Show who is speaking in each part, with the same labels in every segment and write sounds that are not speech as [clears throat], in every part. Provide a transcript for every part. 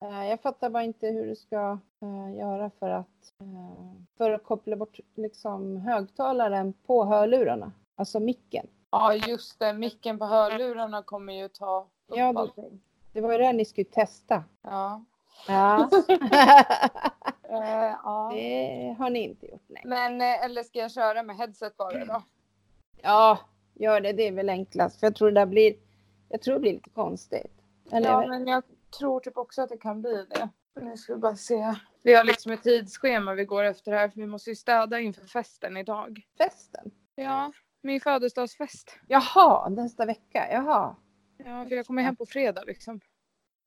Speaker 1: Eh, Jag fattar bara inte hur du ska eh, göra för att, eh, för att koppla bort liksom, högtalaren på hörlurarna, alltså micken.
Speaker 2: Ja, just det. Micken på hörlurarna kommer ju ta upp
Speaker 1: Ja,
Speaker 2: allt.
Speaker 1: det, det var ju det ni skulle testa.
Speaker 2: Ja.
Speaker 1: [laughs] Ja.
Speaker 2: Eh, ja.
Speaker 1: det har ni inte gjort, nej.
Speaker 2: Men, eh, eller ska jag köra med headset bara då?
Speaker 1: Ja, gör det. Det är väl enklast. För jag tror det där blir, jag tror det blir lite konstigt. Eller,
Speaker 2: Ja, men jag tror typ också att det kan bli det. Nu ska vi bara se. Vi har liksom ett tidsschema vi går efter här för vi måste ju städa inför festen idag.
Speaker 1: festen?
Speaker 2: Ja, min födelsedagsfest.
Speaker 1: Jaha, nästa vecka. Jaha.
Speaker 2: Ja, för jag kommer hem på fredag liksom.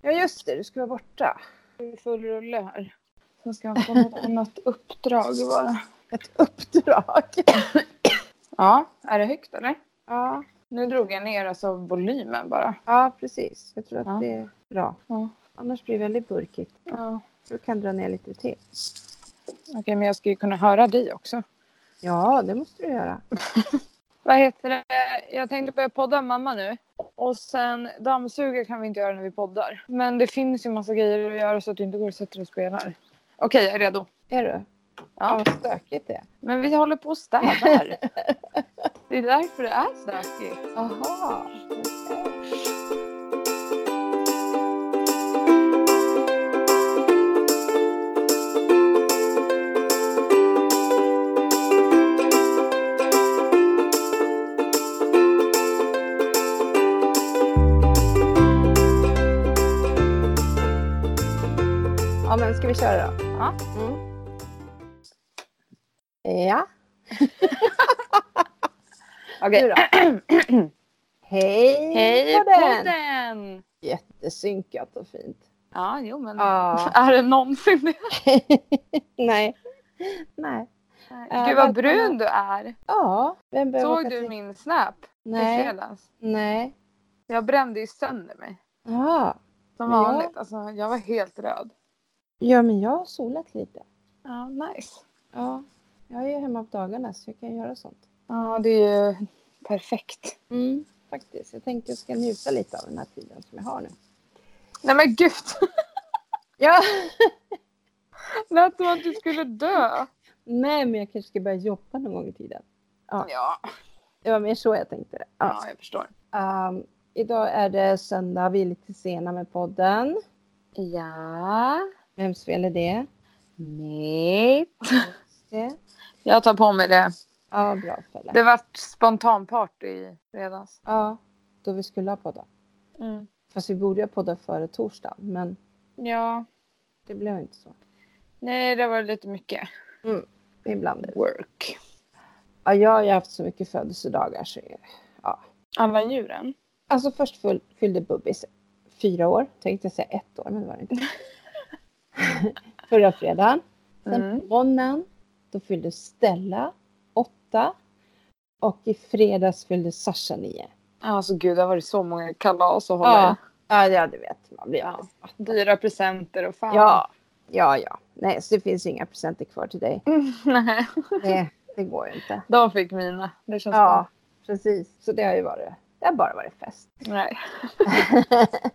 Speaker 1: Ja, just det. Du ska vara borta.
Speaker 2: Det är full rulle här. Sen ska jag
Speaker 1: [laughs]
Speaker 2: få något annat uppdrag bara.
Speaker 1: Ett uppdrag.
Speaker 2: Ja, är det högt eller?
Speaker 1: Ja,
Speaker 2: Nu drog jag ner alltså volymen bara.
Speaker 1: ja precis. Jag tror att
Speaker 2: Ja.
Speaker 1: det är bra.
Speaker 2: Ja.
Speaker 1: Annars blir det väldigt burkigt.
Speaker 2: Ja.
Speaker 1: Du kan dra ner lite till.
Speaker 2: Okej, men jag ska ju kunna höra dig också.
Speaker 1: Ja, det måste du göra.
Speaker 2: Vad heter det? Jag tänkte börja podda med mamma nu. Och sen dammsuga kan vi inte göra när vi poddar. Men det finns ju massa grejer att göra så att du inte går och sätter dig och spelar. Okej, jag är redo.
Speaker 1: Är du?
Speaker 2: Ja.
Speaker 1: Vad stökigt det är.
Speaker 2: Men vi håller på och [laughs] städar. det är därför det är stökigt.
Speaker 1: Jaha. Ja, men ska vi köra då?
Speaker 2: Ja.
Speaker 1: Mm. Ja.
Speaker 2: Okej.
Speaker 1: Du då? Hej,
Speaker 2: Hej
Speaker 1: på den!
Speaker 2: podden!
Speaker 1: Jättesynkat och fint.
Speaker 2: Ja, jo men.
Speaker 1: Ja.
Speaker 2: [laughs] Är det någonsin det?
Speaker 1: Nej. Nej. Ja,
Speaker 2: Gud vad
Speaker 1: välkomna.
Speaker 2: brun du är.
Speaker 1: Ja, vem behöver åka
Speaker 2: Såg du
Speaker 1: till-
Speaker 2: min snap i
Speaker 1: Nej.
Speaker 2: fredags?
Speaker 1: Nej.
Speaker 2: Jag brände ju sönder mig.
Speaker 1: Ja.
Speaker 2: Som
Speaker 1: Ja.
Speaker 2: vanligt. Alltså, jag var helt röd.
Speaker 1: ja, men jag har solat lite.
Speaker 2: Ja, nice.
Speaker 1: Ja. Jag är ju hemma på dagarna så jag kan göra sånt.
Speaker 2: Ja, det är ju perfekt.
Speaker 1: Mm, faktiskt. Jag tänkte jag ska njuta lite av den här tiden som jag har nu.
Speaker 2: Nej men gud! [laughs]
Speaker 1: Ja.
Speaker 2: Lät som att du skulle dö.
Speaker 1: [laughs] Nej, men jag kanske ska börja jobba någon gång i tiden. Ja.
Speaker 2: Ja,
Speaker 1: Det var mer så jag tänkte. Ja.
Speaker 2: ja jag förstår.
Speaker 1: Ehm, idag är det söndag. Vi är lite sena med podden.
Speaker 2: Ja,
Speaker 1: Vems fel är det?
Speaker 2: nej.
Speaker 1: det?
Speaker 2: Jag tar på mig det.
Speaker 1: Ja, bra Felle.
Speaker 2: Det vart spontanparty i fredags.
Speaker 1: Ja, då vi skulle ha poddat.
Speaker 2: Mm.
Speaker 1: Fast vi borde ha poddat före torsdagen, men
Speaker 2: Ja,
Speaker 1: det blev inte så.
Speaker 2: nej det var lite mycket
Speaker 1: Ibland är det så.
Speaker 2: work.
Speaker 1: Ja, jag har ju haft så mycket födelsedagar så...
Speaker 2: Alla djuren?
Speaker 1: Alltså först full, fyllde Bubbis fyra år, tänkte jag säga ett år, men det var det
Speaker 2: [laughs]
Speaker 1: inte. Förra fredagen. Sen
Speaker 2: Mm.
Speaker 1: på måndagen, då fyllde Stella åtta. Och i fredags fyllde Sasha nio.
Speaker 2: Alltså gud, det har varit så många kalas och hålla
Speaker 1: Ja,
Speaker 2: i.
Speaker 1: ja, ja, du vet. Man blir
Speaker 2: Ja.
Speaker 1: alldeles matt.
Speaker 2: Dyra presenter och fan. [laughs]
Speaker 1: Ja, ja, ja. Nej, så det finns ju inga presenter kvar till dig.
Speaker 2: Mm. Nej,
Speaker 1: Nej, det går ju inte.
Speaker 2: de fick mina. Det känns
Speaker 1: Ja, precis. Så det har ju varit. Det har bara varit fest.
Speaker 2: bra. Nej.
Speaker 1: [laughs]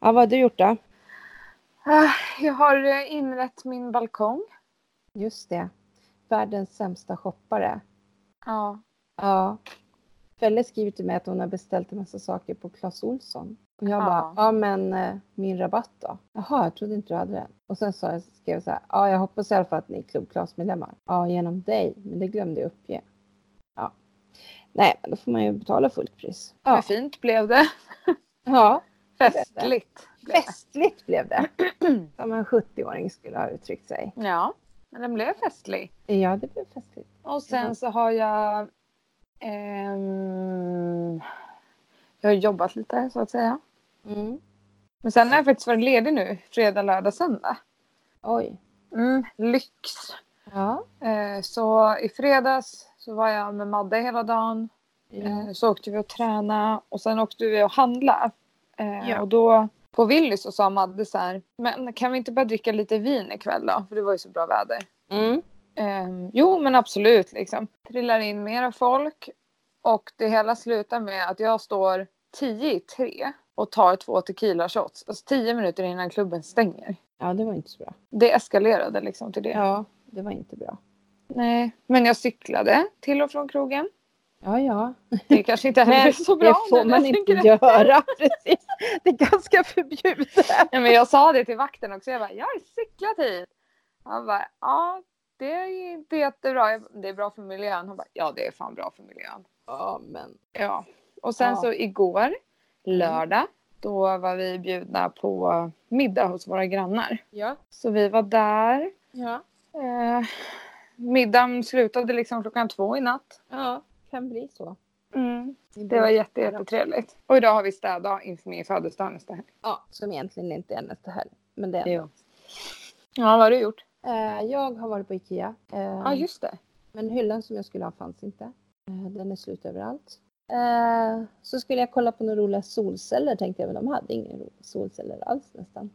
Speaker 1: Ja, vad har du gjort då?
Speaker 2: Ah, Jag har eh, inrett min balkong.
Speaker 1: Just det. Världens sämsta shoppare.
Speaker 2: Ja.
Speaker 1: Ja. Felle skriver till mig att hon har beställt en massa saker på Clas Ohlson. Och jag
Speaker 2: Ja.
Speaker 1: bara, ja men eh, min rabatt då? Jaha, jag trodde inte du hade den. Och sen sa jag, skrev jag så här, ja jag hoppas i alla fall att ni är Club Clas medlemmar. Ja, genom dig, men det glömde jag uppge. Ja. Nej, men då får man ju betala fullt pris.
Speaker 2: Hur
Speaker 1: Ja,
Speaker 2: fint
Speaker 1: [laughs]
Speaker 2: blev det?
Speaker 1: ja
Speaker 2: Festligt. blev det.
Speaker 1: festligt blev [clears throat] det. Som en 70-åring skulle ha uttryckt sig.
Speaker 2: Ja, men den blev festlig.
Speaker 1: Ja, det blev festligt.
Speaker 2: Och sen så har jag... ehm, jag har jobbat lite så att säga.
Speaker 1: Mm.
Speaker 2: Men sen har jag faktiskt varit ledig nu. Fredag, lördag, söndag.
Speaker 1: Oj.
Speaker 2: Mm, lyx.
Speaker 1: Ja.
Speaker 2: Eh, så i fredags så var jag med Madde hela dagen.
Speaker 1: Mm.
Speaker 2: Eh, Så åkte vi och tränade och sen åkte vi och handla. Eh,
Speaker 1: Ja.
Speaker 2: Och då på Willys så sa Madde så här, men kan vi inte bara dricka lite vin ikväll då? För det var ju så bra väder.
Speaker 1: Mm.
Speaker 2: Eh, jo men absolut liksom. Trillar in mera folk och det hela slutar med att jag står 10 i 3 och tar två tequila shots. Alltså tio minuter innan klubben stänger.
Speaker 1: Ja, det var inte så bra.
Speaker 2: Det eskalerade liksom till det.
Speaker 1: Ja, det var inte bra.
Speaker 2: Nej, men jag cyklade till och från krogen.
Speaker 1: Ja, ja.
Speaker 2: Det kanske inte heller är så bra.
Speaker 1: det får
Speaker 2: när jag
Speaker 1: man inte
Speaker 2: tänker efter.
Speaker 1: göra. [laughs] Precis. Det är ganska förbjudet.
Speaker 2: Ja, men jag sa det till vakten också. Jag bara, jag har cyklat hit. Han bara, ja det är inte jättebra. Jag bara, det är bra för miljön. Han bara, ja det är fan bra för miljön.
Speaker 1: Ja, men.
Speaker 2: Ja. Och sen
Speaker 1: Ja. Mm.
Speaker 2: så igår, lördag, då var vi bjudna på middag hos våra grannar.
Speaker 1: Ja.
Speaker 2: Så vi var där.
Speaker 1: Ja.
Speaker 2: Eh, middagen slutade liksom klockan två i natt.
Speaker 1: Ja, kan bli så. Mm.
Speaker 2: Det var jätte, jättetrevligt. Och idag har vi städdag inför min födelsedag nästa helg.
Speaker 1: Ja, som egentligen inte är nästa helg. Men det är
Speaker 2: Jo. Ja, vad har du gjort?
Speaker 1: Eh, Jag har varit på Ikea. eh,
Speaker 2: Ja, just det.
Speaker 1: Men hyllan som jag skulle ha fanns inte. Eh, Den är slut överallt. Eh, Så skulle jag kolla på några roliga solceller tänkte jag, men de hade inga ro- solceller alls nästan.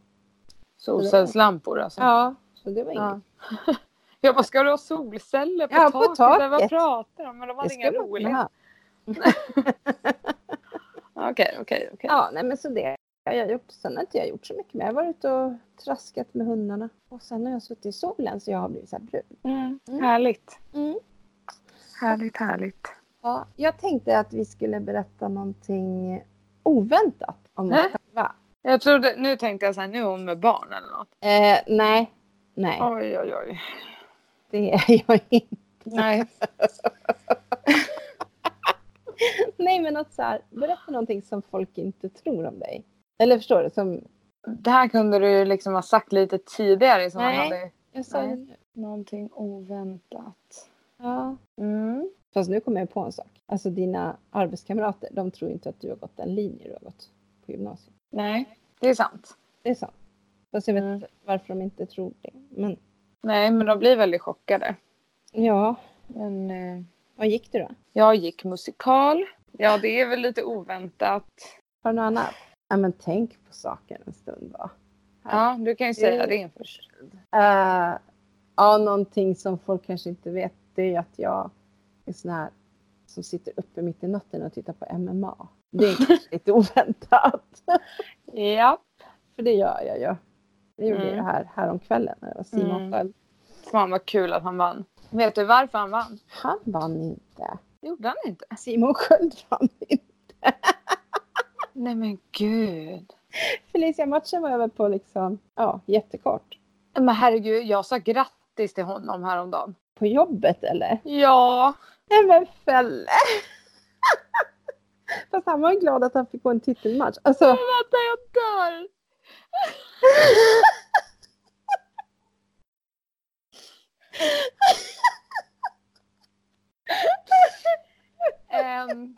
Speaker 2: Solcellslampor alltså.
Speaker 1: Ja, så det var inget.
Speaker 2: Ja. Jag bara, ska du ha solceller på
Speaker 1: Ja, på
Speaker 2: taket?
Speaker 1: taket.
Speaker 2: Vad pratar de om? Men de
Speaker 1: Det
Speaker 2: hade
Speaker 1: ska
Speaker 2: inga
Speaker 1: man
Speaker 2: roliga.
Speaker 1: ha.
Speaker 2: Okej, okej, okej.
Speaker 1: Ja, nej men så det har jag gjort. Sen har inte jag gjort så mycket mer. Jag har varit och traskat med hundarna. Och sen har jag suttit i solen så jag har blivit så här brun.
Speaker 2: Mm.
Speaker 1: Mm.
Speaker 2: Härligt.
Speaker 1: Mm.
Speaker 2: Härligt, härligt.
Speaker 1: Ja, jag tänkte att vi skulle berätta någonting oväntat om oss
Speaker 2: Äh?
Speaker 1: själva.
Speaker 2: Jag trodde, nu tänkte jag så här, nu är hon med barn eller något.
Speaker 1: Eh, nej, nej,
Speaker 2: Oj, oj, [laughs] oj.
Speaker 1: det är [laughs] jag inte.
Speaker 2: Nej.
Speaker 1: Nej, men något så här, berätta någonting som folk inte tror om dig. Eller förstår du? Som
Speaker 2: Det här kunde du ju liksom ha sagt lite tidigare. Som man
Speaker 1: Nej.
Speaker 2: hade
Speaker 1: jag sa ju
Speaker 2: Nej.
Speaker 1: nu.
Speaker 2: någonting oväntat.
Speaker 1: Ja.
Speaker 2: Mm.
Speaker 1: Fast nu kommer jag på en sak. Alltså dina arbetskamrater, de tror inte att du har gått den linje du har gått på gymnasiet.
Speaker 2: Nej, det är sant.
Speaker 1: Det är sant. Fast jag vet
Speaker 2: Mm.
Speaker 1: inte varför de inte tror det. Men
Speaker 2: Nej, men de blir väldigt chockade.
Speaker 1: ja,
Speaker 2: Men, eh,
Speaker 1: vad gick du då?
Speaker 2: jag gick musikal. Ja, det är väl lite oväntat.
Speaker 1: Har du något annat? Ja, men tänk på saken en stund då.
Speaker 2: Ja, du kan ju säga det först.
Speaker 1: Eh, ja, någonting som folk kanske inte vet det är att jag är sån här som sitter uppe mitt i natten och tittar på MMA. Det
Speaker 2: [laughs]
Speaker 1: är kanske lite oväntat.
Speaker 2: Ja,
Speaker 1: För det gör jag ju. Det gjorde
Speaker 2: Mm.
Speaker 1: jag här häromkvällen när det var Simon
Speaker 2: Mm.
Speaker 1: själv.
Speaker 2: fan vad kul att han vann. Vet du varför han vann?
Speaker 1: Han vann inte.
Speaker 2: Det gjorde han inte.
Speaker 1: Simon Sköld vann inte.
Speaker 2: Nej men gud.
Speaker 1: Felicia-matchen var över på liksom, ja, jättekort.
Speaker 2: Men herregud, jag sa grattis till honom häromdagen.
Speaker 1: På jobbet eller?
Speaker 2: Ja.
Speaker 1: Nej men Felle! [laughs] Fast han var ju glad att han fick gå en titelmatch. Alltså,
Speaker 2: Vänta, jag dör. Ehm.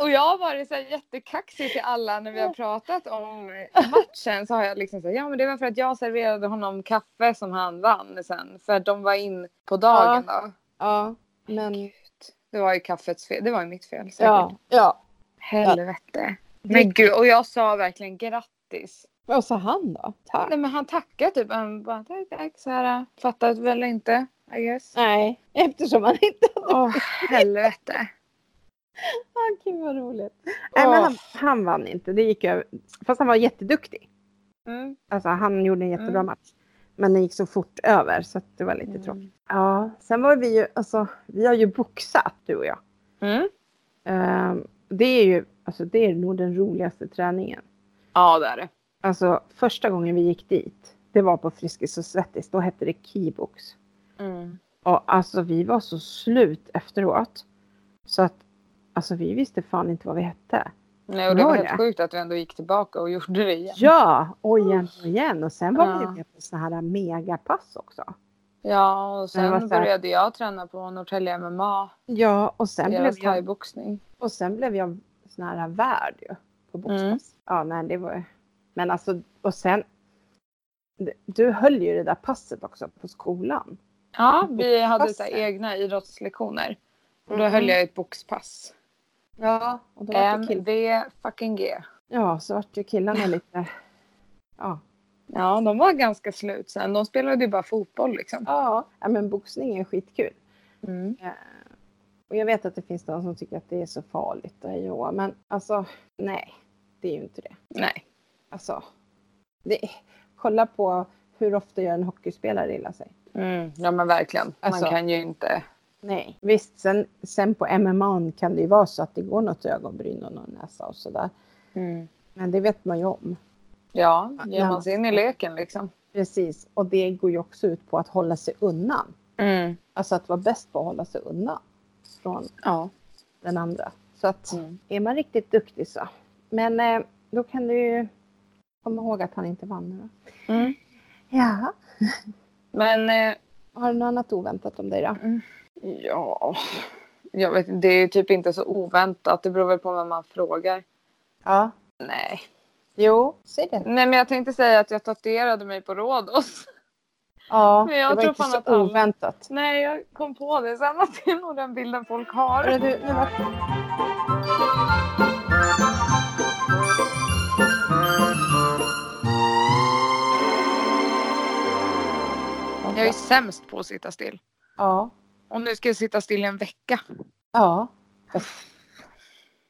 Speaker 2: och jag har varit så här jättekaxig till alla när vi har pratat om matchen. Så har jag liksom sagt, ja men det var för att jag serverade honom kaffe som han vann sen. För att de var in på dagen då.
Speaker 1: ja, men...
Speaker 2: Gud. Det var ju kaffets fel. Det var ju mitt fel säkert.
Speaker 1: Ja, ja.
Speaker 2: Helvete. Men gud, och jag sa verkligen grattis.
Speaker 1: Vad sa han då? Tack.
Speaker 2: Nej men han tackade typ. Han bara tack, tack så här. Fattade väl inte. I guess.
Speaker 1: Nej, eftersom han inte... [laughs]
Speaker 2: Åh helvete.
Speaker 1: Oh, Gud vad roligt. Nej, men han, han vann inte. Det gick över. Fast han var jätteduktig.
Speaker 2: Mm.
Speaker 1: Alltså, han gjorde en jättebra
Speaker 2: Mm.
Speaker 1: match. Men den gick så fort över så att det var lite
Speaker 2: Mm.
Speaker 1: tråkigt. Ja, sen var vi ju... Alltså, vi har ju boxat du och jag.
Speaker 2: Mm.
Speaker 1: Ehm, det är ju... Alltså, det är nog den roligaste träningen.
Speaker 2: Ja det är det.
Speaker 1: Alltså, första gången vi gick dit, det var på Friskis och Svettis. Då hette det Keybox.
Speaker 2: Mm.
Speaker 1: Och alltså vi var så slut efteråt. Så att alltså vi visste fan inte vad vi hette.
Speaker 2: Nej, och det var
Speaker 1: Var
Speaker 2: helt
Speaker 1: det?
Speaker 2: sjukt att vi ändå gick tillbaka och gjorde det igen.
Speaker 1: Ja, och igen och igen. Och sen var vi
Speaker 2: Ja.
Speaker 1: ju med på sådana här megapass också.
Speaker 2: Ja, och
Speaker 1: Det var
Speaker 2: sen
Speaker 1: så här-
Speaker 2: började jag träna på Norrtälje MMA.
Speaker 1: Ja, och sen, blev
Speaker 2: Deras
Speaker 1: jag,
Speaker 2: thaiboxning.
Speaker 1: och sen blev jag sån här värd ju. På boxpass.
Speaker 2: Mm.
Speaker 1: Ja, nej det var ju- Men alltså, och sen. Du höll ju det där passet också på skolan.
Speaker 2: Ja, vi hade så här
Speaker 1: Boxpassen.
Speaker 2: egna idrottslektioner. Och då
Speaker 1: Mm.
Speaker 2: höll jag ett boxpass.
Speaker 1: Ja, och då var det kill-
Speaker 2: MV fucking G.
Speaker 1: ja så vart ju killarna [laughs] lite. Ja,
Speaker 2: Ja, de var ganska slut sen. De spelade ju bara fotboll liksom. Mm.
Speaker 1: ja. ja men boxning är skitkul. Eh, Och jag vet att det finns de som tycker att det är så farligt att joa, men alltså nej, det är ju inte det.
Speaker 2: Nej.
Speaker 1: Alltså, det, kolla på hur ofta gör en hockeyspelare illa sig?
Speaker 2: Mm, ja men verkligen.
Speaker 1: Alltså.
Speaker 2: Man kan ju inte.
Speaker 1: Nej. Visst, sen, sen på MMA kan det ju vara så att det går något ögonbryn och någon näsa och sådär. Men det vet man ju om.
Speaker 2: Mm. Ja, ger
Speaker 1: Ja.
Speaker 2: man sig in i leken liksom.
Speaker 1: Precis, och det går ju också ut på att hålla sig undan.
Speaker 2: Mm.
Speaker 1: Alltså att vara bäst på att hålla sig undan från
Speaker 2: Ja.
Speaker 1: den andra. Så att
Speaker 2: Mm.
Speaker 1: är man riktigt duktig så. Men eh, då kan du ju komma ihåg att han inte vann nu. då.
Speaker 2: Mm.
Speaker 1: Ja.
Speaker 2: Men eh,
Speaker 1: Har du något annat oväntat om dig då?
Speaker 2: ja, jag vet inte, det är ju typ inte så oväntat. Det beror väl på vem man frågar.
Speaker 1: Ja.
Speaker 2: Nej.
Speaker 1: Jo, säg det.
Speaker 2: Nej men jag tänkte säga att jag tatuerade mig på Rhodos. [laughs]
Speaker 1: Ja,
Speaker 2: Men jag
Speaker 1: det var
Speaker 2: tror
Speaker 1: inte
Speaker 2: fan
Speaker 1: så
Speaker 2: att alla-
Speaker 1: oväntat.
Speaker 2: Nej jag kom på det sen att det är nog den bilden folk har.
Speaker 1: Hörru du, nu vart
Speaker 2: Jag är sämst på att sitta still.
Speaker 1: Ja.
Speaker 2: Och nu ska jag sitta still i en vecka.
Speaker 1: Ja.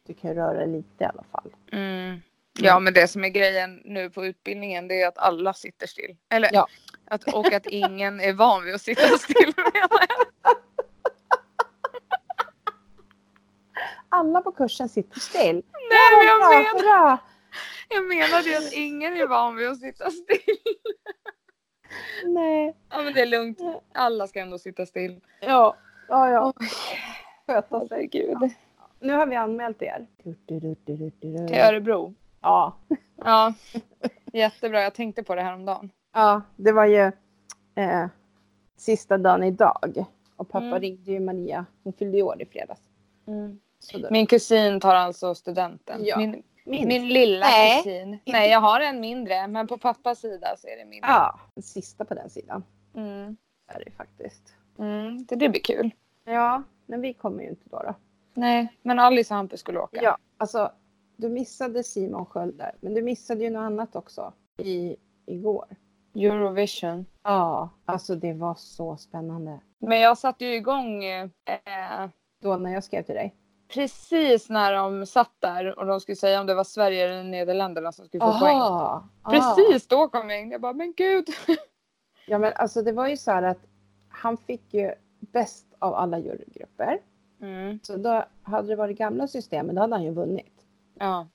Speaker 1: Du kan ju röra dig lite i alla fall.
Speaker 2: Mm. Ja, men det som är grejen nu på utbildningen det är att alla sitter still. Eller,
Speaker 1: Ja.
Speaker 2: att, och att ingen är van vid att sitta still [laughs] menar jag.
Speaker 1: Alla på kursen sitter still.
Speaker 2: Nej, men jag,
Speaker 1: Bra,
Speaker 2: men,
Speaker 1: bra.
Speaker 2: jag menar det att ingen är van vid att sitta still.
Speaker 1: Nej.
Speaker 2: Ja, men det är lugnt. Alla ska ändå sitta still.
Speaker 1: Ja. Ja, ja. Sköta sig.
Speaker 2: Herregud.
Speaker 1: Nu har vi anmält er.
Speaker 2: Till Örebro.
Speaker 1: Ja.
Speaker 2: Ja, jättebra. Jag tänkte på det här om dagen.
Speaker 1: Ja, det var ju eh, sista dagen idag. Och pappa
Speaker 2: Mm.
Speaker 1: ringde ju Maria. Hon fyllde ju år i fredags. Så då-
Speaker 2: Min kusin tar alltså studenten.
Speaker 1: Ja.
Speaker 2: Min,
Speaker 1: Minst.
Speaker 2: min lilla
Speaker 1: Nej.
Speaker 2: kusin. Nej, jag har en mindre. Men på pappas sida så är det mindre.
Speaker 1: Ja, den sista på den sidan
Speaker 2: Mm.
Speaker 1: är det ju faktiskt.
Speaker 2: Mm, det, det blir kul.
Speaker 1: Ja, men vi kommer ju inte då. då.
Speaker 2: Nej, men Alice och Hampus skulle åka.
Speaker 1: Ja, alltså du missade Simon Sköld där, men du missade ju något annat också i, igår.
Speaker 2: Eurovision.
Speaker 1: Ja, alltså det var så spännande.
Speaker 2: Men jag satte ju igång eh,
Speaker 1: Då när jag skrev till dig.
Speaker 2: precis när de satt där och de skulle säga om det var Sverige eller Nederländerna som skulle få poäng.
Speaker 1: Aha, ah.
Speaker 2: Precis då kom jag in. Jag bara, men gud.
Speaker 1: Ja, men alltså det var ju så här att han fick ju bäst av alla jurygrupper. Så då hade det varit gamla systemet, då hade han ju vunnit.
Speaker 2: Ja.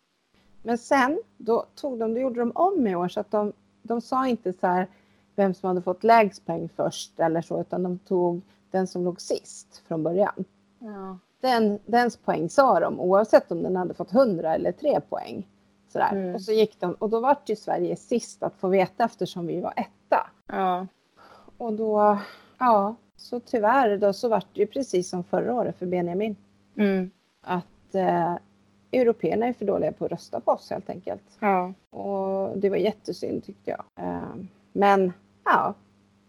Speaker 1: Men sen, då tog de, då gjorde de om i år så att de, de sa inte så här vem som hade fått lägst poäng först eller så, utan de tog den som låg sist från början.
Speaker 2: ja.
Speaker 1: Den, dens poäng sa de oavsett om den hade fått 100 eller 3 poäng. Sådär.
Speaker 2: Mm.
Speaker 1: Och så gick de, och då var ju Sverige sist att få veta eftersom vi var etta.
Speaker 2: ja.
Speaker 1: Och då, ja, så tyvärr då så vart det ju precis som förra året för Benjamin.
Speaker 2: Mm.
Speaker 1: Att eh, européerna är för dåliga på att rösta på oss helt enkelt.
Speaker 2: ja.
Speaker 1: Och det var jättesynd tyckte jag. Ehm, men ja,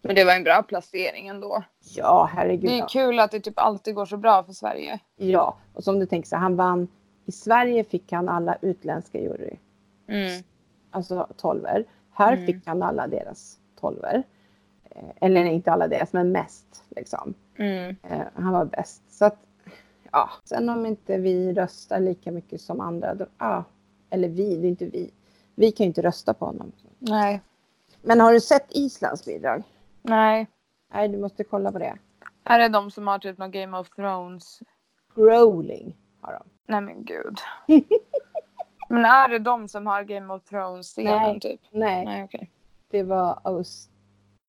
Speaker 2: Men det var en bra placering ändå.
Speaker 1: ja
Speaker 2: Det
Speaker 1: herregud.
Speaker 2: är
Speaker 1: ja.
Speaker 2: ju kul att det typ alltid går så bra för Sverige.
Speaker 1: Ja, och som du tänker så här, han vann. I Sverige fick han alla utländska jury, alltså tolver. Här
Speaker 2: Mm.
Speaker 1: fick han alla deras tolver. Eh, Eller inte alla deras, men mest liksom. Eh, han var bäst. Så att, ja. Sen om inte vi röstar lika mycket som andra, då, ja. eller vi, det är inte vi. Vi kan ju inte rösta på honom.
Speaker 2: Nej.
Speaker 1: Men har du sett Islands bidrag?
Speaker 2: Nej.
Speaker 1: Nej, du måste kolla på det.
Speaker 2: Är det de som har typ någon Game of Thrones
Speaker 1: Growling har de.
Speaker 2: Nej men [laughs] gud. men är det de som har Game of Thrones-scenen
Speaker 1: Nej.
Speaker 2: typ?
Speaker 1: Nej,
Speaker 2: Nej okej.
Speaker 1: det var Aust...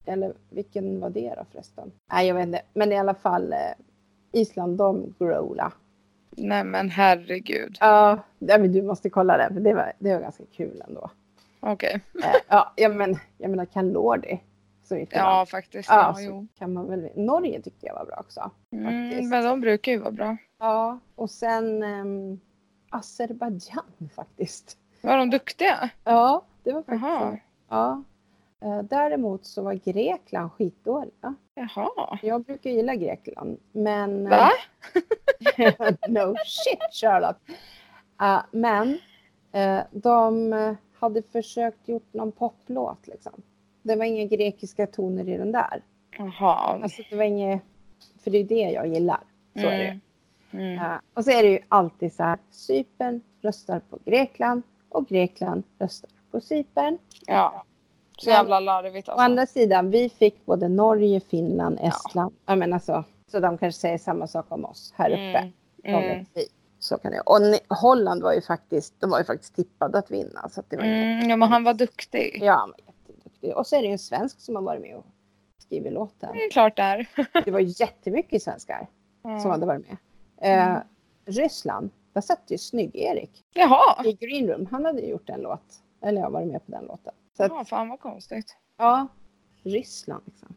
Speaker 1: Eller vilken var det då förresten? Nej, jag vet inte. Men i alla fall eh, Island, de growla.
Speaker 2: Nej men herregud.
Speaker 1: Ja, nej, men du måste kolla det, för det var, det var ganska kul ändå.
Speaker 2: Okej.
Speaker 1: Eh, ja, jag, men, jag menar Kalordi. Som gick
Speaker 2: Ja faktiskt.
Speaker 1: Ja,
Speaker 2: Ja,
Speaker 1: så
Speaker 2: jo.
Speaker 1: kan man väl. Norge tyckte jag var bra också.
Speaker 2: Mm,
Speaker 1: faktiskt.
Speaker 2: men de brukar ju vara bra.
Speaker 1: Ja, och sen ehm, Azerbajdzjan faktiskt.
Speaker 2: Var de duktiga?
Speaker 1: Ja, det var faktiskt
Speaker 2: Jaha.
Speaker 1: så. Ja. Eh, Däremot så var Grekland skitdåliga.
Speaker 2: Jaha.
Speaker 1: Jag brukar gilla Grekland, men...
Speaker 2: Va?
Speaker 1: [laughs] no shit Charlotte. Eh, men eh, de hade försökt gjort någon poplåt liksom. Det var inga grekiska toner i den där.
Speaker 2: Jaha.
Speaker 1: Alltså det var inget... För det är det jag gillar. Så är det.
Speaker 2: Mm. Mm.
Speaker 1: Ja, och så är det ju alltid så här, Cypern röstar på Grekland och Grekland röstar på Cypern.
Speaker 2: Ja. Så jävla larvigt
Speaker 1: Å
Speaker 2: alltså.
Speaker 1: andra sidan, vi fick både Norge, Finland, Estland. Jag menar så, så de kanske säger samma sak om oss här uppe.
Speaker 2: Mm.
Speaker 1: Vad
Speaker 2: Mm.
Speaker 1: vet vi? Så kan det. Och ni, Holland var ju faktiskt, de var ju faktiskt tippade att vinna. Så att det var ju-
Speaker 2: Mm. Ja, men han var duktig.
Speaker 1: Ja, han var jätteduktig. Och så är det ju en svensk som har varit med och skrivit låten.
Speaker 2: Det är klart det är.
Speaker 1: Det var ju jättemycket svenskar som
Speaker 2: Mm.
Speaker 1: hade varit med. Eh,
Speaker 2: Mm.
Speaker 1: Ryssland, där satt ju snygg-Erik
Speaker 2: Jaha.
Speaker 1: i Green Room. Han hade ju gjort en låt. Eller jag var med på den låten. Så att,
Speaker 2: Ja, fan vad konstigt.
Speaker 1: ja, Ryssland liksom.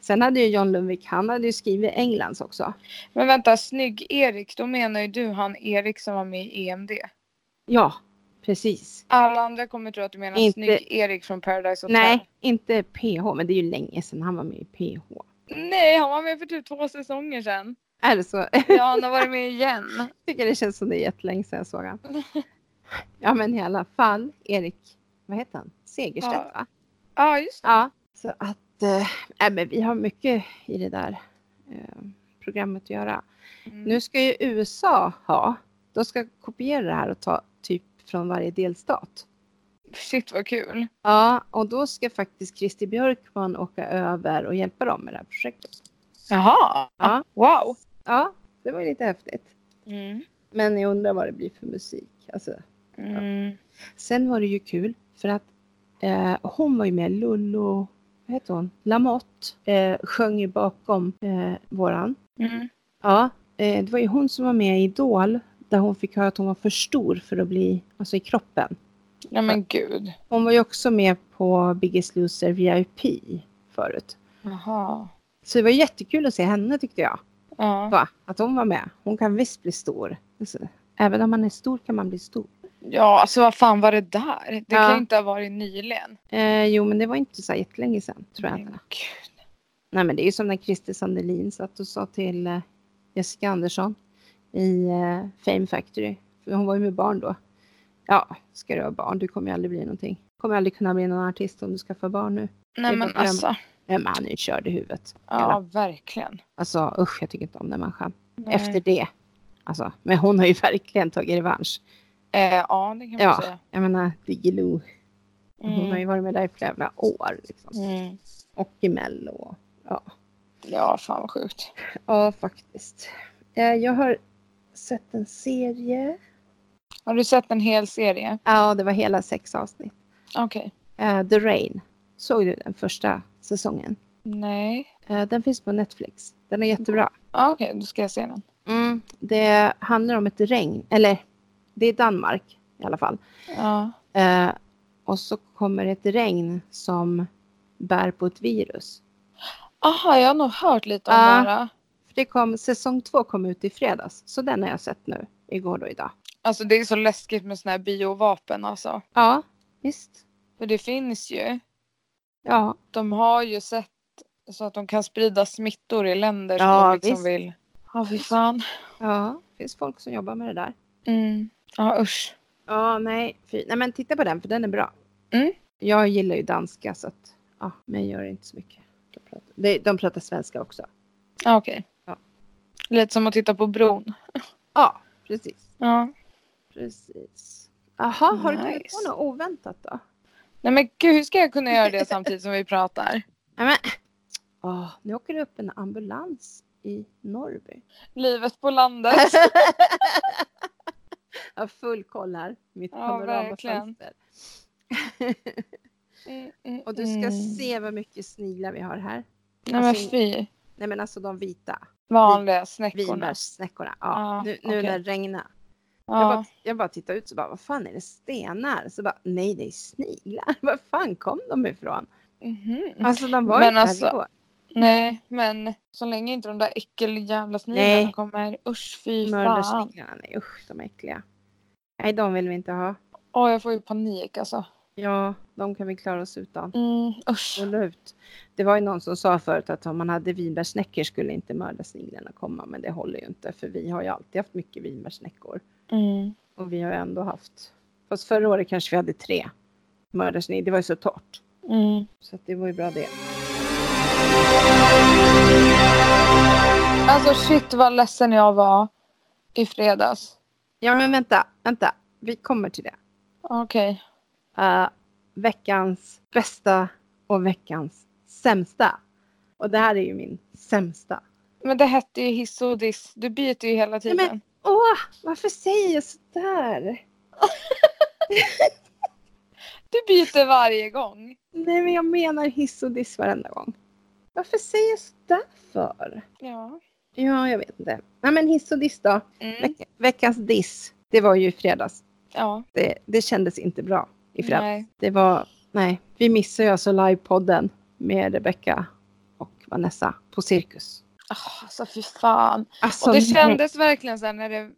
Speaker 1: Sen hade ju John Lundvik, han hade ju skrivit Englands också.
Speaker 2: Men vänta, snygg-Erik, då menar ju du han Erik som var med i E EMD.
Speaker 1: Ja, precis.
Speaker 2: Alla andra kommer tro att du menar
Speaker 1: Inte-
Speaker 2: snygg-Erik från Paradise Hotel.
Speaker 1: Nej, inte PH, men det är ju länge sedan han var med i PH.
Speaker 2: Nej, han var med för typ två säsonger sedan.
Speaker 1: Eller så [laughs]
Speaker 2: Ja, han har varit med igen.
Speaker 1: tycker det känns som det är jättelänge sedan jag såg han.
Speaker 2: [laughs]
Speaker 1: Ja, men i alla fall, Erik, vad heter han? Segerstedt,
Speaker 2: Ja.
Speaker 1: va?
Speaker 2: Ja, just det.
Speaker 1: Ja, så att eh, nej, men vi har mycket i det där eh, programmet att göra.
Speaker 2: Mm.
Speaker 1: Nu ska ju USA ha, de ska kopiera det här och ta typ från varje delstat.
Speaker 2: Mm. Shit vad kul.
Speaker 1: Ja, och då ska faktiskt Christer Björkman åka över och hjälpa dem med det här projektet.
Speaker 2: Jaha.
Speaker 1: Ja.
Speaker 2: Wow.
Speaker 1: Ja, det var ju lite häftigt.
Speaker 2: Mm.
Speaker 1: Men jag undrar vad det blir för musik. Alltså,
Speaker 2: Mm.
Speaker 1: Sen var det ju kul för att eh, hon var ju med, Lullo, vad heter hon, Lamotte, eh, sjöng ju bakom eh, våran.
Speaker 2: Mm.
Speaker 1: Ja, eh, det var ju hon som var med i Idol där hon fick höra att hon var för stor för att bli, alltså i kroppen.
Speaker 2: Ja men gud.
Speaker 1: Hon var ju också med på Biggest Loser VIP förut.
Speaker 2: Jaha.
Speaker 1: Så det var jättekul att se henne tyckte jag.
Speaker 2: Ja.
Speaker 1: Va? Att hon var med. Hon kan visst bli stor. Alltså, även om man är stor kan man bli stor.
Speaker 2: ja, alltså vad fan var det där? Det
Speaker 1: Ja.
Speaker 2: kan ju inte ha varit nyligen.
Speaker 1: Eh, jo, men det var inte så här jättelänge sedan tror jag.
Speaker 2: Men gud.
Speaker 1: Nej, men det är ju som när Christer Sandelin satt och sa till eh, Jessica Andersson i eh, Fame Factory. För hon var ju med barn då. Ja, ska du ha barn, du kommer ju aldrig bli någonting. Kommer aldrig kunna bli någon artist om du skaffar barn nu.
Speaker 2: Nej
Speaker 1: Det var
Speaker 2: men
Speaker 1: dröm.
Speaker 2: alltså.
Speaker 1: Nej, men han är ju körd i huvudet.
Speaker 2: Ja, verkligen.
Speaker 1: Alltså usch, jag tycker inte om den människan.
Speaker 2: Nej.
Speaker 1: Efter det. Alltså, men hon har ju [laughs] verkligen tagit revansch.
Speaker 2: Eh, ja, det kan man
Speaker 1: Ja.
Speaker 2: säga.
Speaker 1: Jag menar, Diggiloo. Hon har ju
Speaker 2: Mm.
Speaker 1: varit med där i flera år. Liksom.
Speaker 2: Mm.
Speaker 1: Och i Mello. Ja.
Speaker 2: Ja, fan vad sjukt.
Speaker 1: ja, faktiskt. Eh, Jag har sett en serie.
Speaker 2: Har du sett en hel serie?
Speaker 1: Ja, det var hela sex avsnitt.
Speaker 2: Okej.
Speaker 1: Eh, The Rain. Såg du den första säsongen?
Speaker 2: Nej.
Speaker 1: Eh, den finns på Netflix. Den är jättebra.
Speaker 2: Ja, Okej, då ska jag se den.
Speaker 1: Det handlar om ett regn, eller det är Danmark i alla fall.
Speaker 2: Ja.
Speaker 1: Eh, och så kommer ett regn som bär på ett virus.
Speaker 2: Aha, jag har nog hört lite om
Speaker 1: Ja.
Speaker 2: det här.
Speaker 1: För det kom, säsong två kom ut i fredags, så den har jag sett nu, igår och idag.
Speaker 2: Alltså det är så läskigt med såna här biovapen alltså.
Speaker 1: Ja, visst.
Speaker 2: För det finns ju.
Speaker 1: Ja,
Speaker 2: De har ju sett så att de kan sprida smittor i länder som
Speaker 1: Ja,
Speaker 2: de liksom
Speaker 1: visst.
Speaker 2: vill. Ja, fy fan.
Speaker 1: ja. Det finns folk som jobbar med det där.
Speaker 2: Mm. Ja, usch.
Speaker 1: Ja, nej. Fy. Nej, men titta på den för den är bra.
Speaker 2: Mm.
Speaker 1: Jag gillar ju danska så att, ja, men gör det inte så mycket. De pratar, de, de pratar svenska också.
Speaker 2: Ja, Ah, okej.
Speaker 1: Ja.
Speaker 2: Lite som att titta på bron.
Speaker 1: Ja, precis.
Speaker 2: Ja.
Speaker 1: Precis. Jaha, har du kommit
Speaker 2: Nice.
Speaker 1: på något oväntat då?
Speaker 2: Nej men gud, hur ska jag kunna
Speaker 1: [laughs]
Speaker 2: göra det samtidigt som vi pratar?
Speaker 1: Nej, men. Åh, nu åker det upp en ambulans i Norrby.
Speaker 2: Livet
Speaker 1: [laughs]
Speaker 2: på landet.
Speaker 1: Jag har full koll här. Mitt
Speaker 2: Ja,
Speaker 1: panoramafönster.
Speaker 2: Mm, mm,
Speaker 1: Och du ska
Speaker 2: mm.
Speaker 1: se vad mycket sniglar vi har här.
Speaker 2: Nej men
Speaker 1: alltså-
Speaker 2: fy.
Speaker 1: Nej men alltså de vita.
Speaker 2: Vanliga snäckorna.
Speaker 1: Vinbärssnäckorna. Ja,
Speaker 2: Ja,
Speaker 1: nu, nu
Speaker 2: okej.
Speaker 1: när det regnar. Jag, bara,
Speaker 2: Ja.
Speaker 1: jag bara tittade ut så bara, vad fan är det stenar? Så bara, nej det är sniglar. [laughs] Var fan kom de ifrån?
Speaker 2: Mhm.
Speaker 1: Alltså de var
Speaker 2: Men
Speaker 1: inte här
Speaker 2: alltså,
Speaker 1: igår.
Speaker 2: Nej, men så länge inte de där äckeljävla sniglarna
Speaker 1: Nej.
Speaker 2: kommer. Usch, fy fan.
Speaker 1: Mördarsniglarna, nej usch de är äckliga. Nej de vill vi inte ha.
Speaker 2: Åh, jag får ju panik alltså.
Speaker 1: Ja, de kan vi klara oss utan.
Speaker 2: Mm, usch.
Speaker 1: Absolut. Det var ju någon som sa förut att om man hade vinbärsnäckor skulle inte mördarsniglarna komma. Men det håller ju inte för vi har ju alltid haft mycket vinbärsnäckor.
Speaker 2: Mm.
Speaker 1: Och vi har ju ändå haft. Fast förra året kanske vi hade tre mördarsniglar. Det var ju så torrt.
Speaker 2: Mm.
Speaker 1: Så att det var ju bra det.
Speaker 2: Alltså shit vad ledsen jag var i fredags.
Speaker 1: Ja, men vänta, vänta. Vi kommer till det.
Speaker 2: Okej.
Speaker 1: Eh, veckans bästa och veckans sämsta. Och det här är ju min sämsta.
Speaker 2: Men det hette ju hiss och diss. Du byter ju hela tiden.
Speaker 1: Nej, men- Åh, varför säger jag sådär?
Speaker 2: Du byter varje gång.
Speaker 1: Nej, men jag menar hiss och diss varenda gång. Varför säger jag sådär för?
Speaker 2: Ja.
Speaker 1: Ja, jag vet inte. Nej, men hiss och diss då.
Speaker 2: Mm.
Speaker 1: Veck- veckans diss, det var ju i fredags.
Speaker 2: Ja.
Speaker 1: Det, det kändes inte bra i fredags.
Speaker 2: Nej.
Speaker 1: Det var, nej, vi missade ju alltså livepodden med Rebecca och Vanessa på Cirkus.
Speaker 2: Oh, alltså fy fan.
Speaker 1: Alltså,
Speaker 2: Och det
Speaker 1: nej.
Speaker 2: kändes verkligen så här när det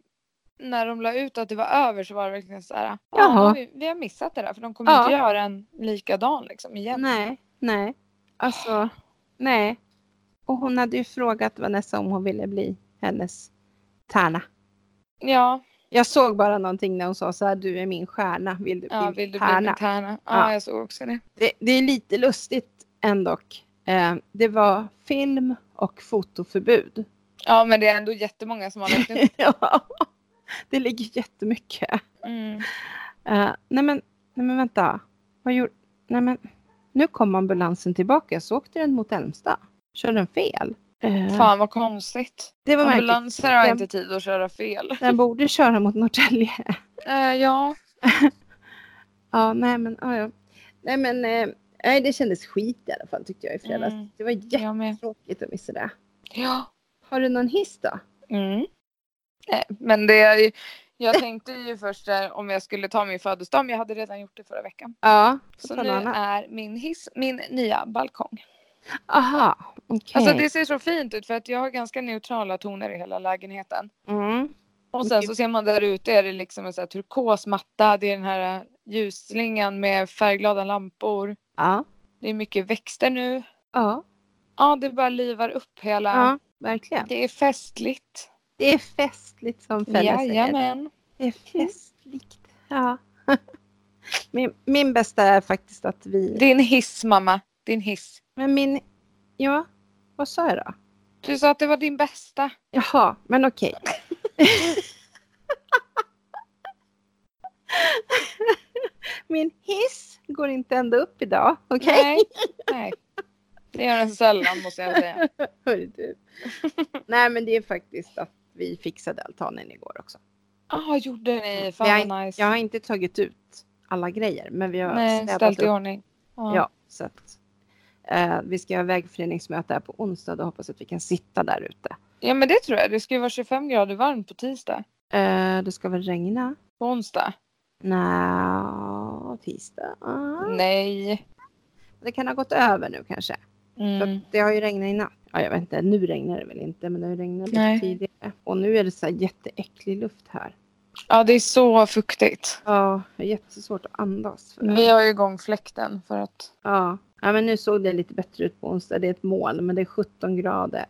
Speaker 2: när de la ut att det var över så var det verkligen så här. "Ah, Ja,
Speaker 1: Jaha.
Speaker 2: nu har vi, vi har missat det där för de kommer
Speaker 1: Ja.
Speaker 2: inte göra en likadan liksom igen.
Speaker 1: Nej, nej. Alltså, nej. Och hon hade ju frågat Vanessa om hon ville bli hennes tärna.
Speaker 2: Ja,
Speaker 1: Jag såg bara någonting när hon sa så här, du är min stjärna, vill du
Speaker 2: ja
Speaker 1: bli
Speaker 2: vill du
Speaker 1: tärna?
Speaker 2: bli min tärna? Ja,
Speaker 1: Ja.
Speaker 2: jag såg också det.
Speaker 1: det, det är lite lustigt ändå. Eh, det var film och fotoförbud.
Speaker 2: Ja, men det är ändå jättemånga som har
Speaker 1: [laughs]
Speaker 2: lagt ut.
Speaker 1: ja, det ligger jättemycket.
Speaker 2: Mm.
Speaker 1: Eh, nej, men, nej men vänta. Vad gjorde... Nej men. Nu kom ambulansen tillbaka så åkte den mot Älmsta. Körde den fel? Eh,
Speaker 2: Fan vad konstigt.
Speaker 1: det var märkligt.
Speaker 2: Ambulanser har
Speaker 1: Den-
Speaker 2: inte tid att köra fel.
Speaker 1: Den borde köra mot Norrtälje.
Speaker 2: Eh, ja,
Speaker 1: ja, nej men. ja, ja. Nej men. eh, nej, det kändes skit i alla fall tyckte jag i fredags.
Speaker 2: Mm.
Speaker 1: Det var
Speaker 2: jag med.
Speaker 1: jättetråkigt att missa det.
Speaker 2: Ja.
Speaker 1: Har du någon hiss då?
Speaker 2: Mm. Nej, men det är ju, jag tänkte ju först där om jag skulle ta min födelsedag, men jag hade redan gjort det förra veckan.
Speaker 1: Ja.
Speaker 2: Så
Speaker 1: Ta
Speaker 2: nu
Speaker 1: någon annan.
Speaker 2: är min hiss min nya balkong.
Speaker 1: Aha, okej.
Speaker 2: Alltså det ser så fint ut för att jag har ganska neutrala toner i hela lägenheten.
Speaker 1: Mm.
Speaker 2: Och sen så ser man där ute är det liksom en sån här turkos matta, det är den här ljusslingan med färgglada lampor.
Speaker 1: Ja.
Speaker 2: Det är mycket växter nu.
Speaker 1: Ja.
Speaker 2: Ja, det bara livar upp hela.
Speaker 1: ja, verkligen.
Speaker 2: Det är festligt.
Speaker 1: Det är festligt som Felle säger.
Speaker 2: Jajamän.
Speaker 1: Det är festligt. Ja. [laughs] Min, min bästa är faktiskt att vi...
Speaker 2: Din hiss mamma, din hiss.
Speaker 1: Men min... Ja, vad sa jag då?
Speaker 2: Du sa att det var din bästa.
Speaker 1: Jaha, men okej.
Speaker 2: [laughs]
Speaker 1: min hiss går inte ända upp idag. Okej?
Speaker 2: Nej. Nej. Det gör den sällan måste jag
Speaker 1: [laughs]
Speaker 2: säga.
Speaker 1: Hörru
Speaker 2: [laughs]
Speaker 1: du. Nej, men det är faktiskt att vi fixade altanen igår också.
Speaker 2: Ja, gjorde ni? Fan
Speaker 1: Vi har
Speaker 2: vad
Speaker 1: inte-
Speaker 2: nice.
Speaker 1: Jag har inte tagit ut alla grejer, men vi har
Speaker 2: Nej,
Speaker 1: städat
Speaker 2: ställt i
Speaker 1: upp.
Speaker 2: ordning. Ja.
Speaker 1: Ja, så att, eh, vi ska ha vägföreningsmöte här på onsdag och hoppas att vi kan sitta där ute.
Speaker 2: ja, men det tror jag. Det ska ju vara 25 grader varmt på tisdag.
Speaker 1: Eh, det ska väl regna?
Speaker 2: På onsdag.
Speaker 1: Nja, tisdag? Ah.
Speaker 2: Nej.
Speaker 1: Det kan ha gått över nu kanske. För
Speaker 2: Mm.
Speaker 1: att det har ju regnat i natt. Ja, jag vet inte, nu regnar det väl inte, men det har ju regnat lite
Speaker 2: Nej.
Speaker 1: tidigare. Och nu är det så här jätteäcklig luft här.
Speaker 2: Ja, det är så fuktigt.
Speaker 1: Ja, det är jättesvårt att andas. För det.
Speaker 2: Vi har ju igång fläkten för att...
Speaker 1: Ja. ja, men nu såg det lite bättre ut på onsdag. Det är ett moln, men det är 17 grader.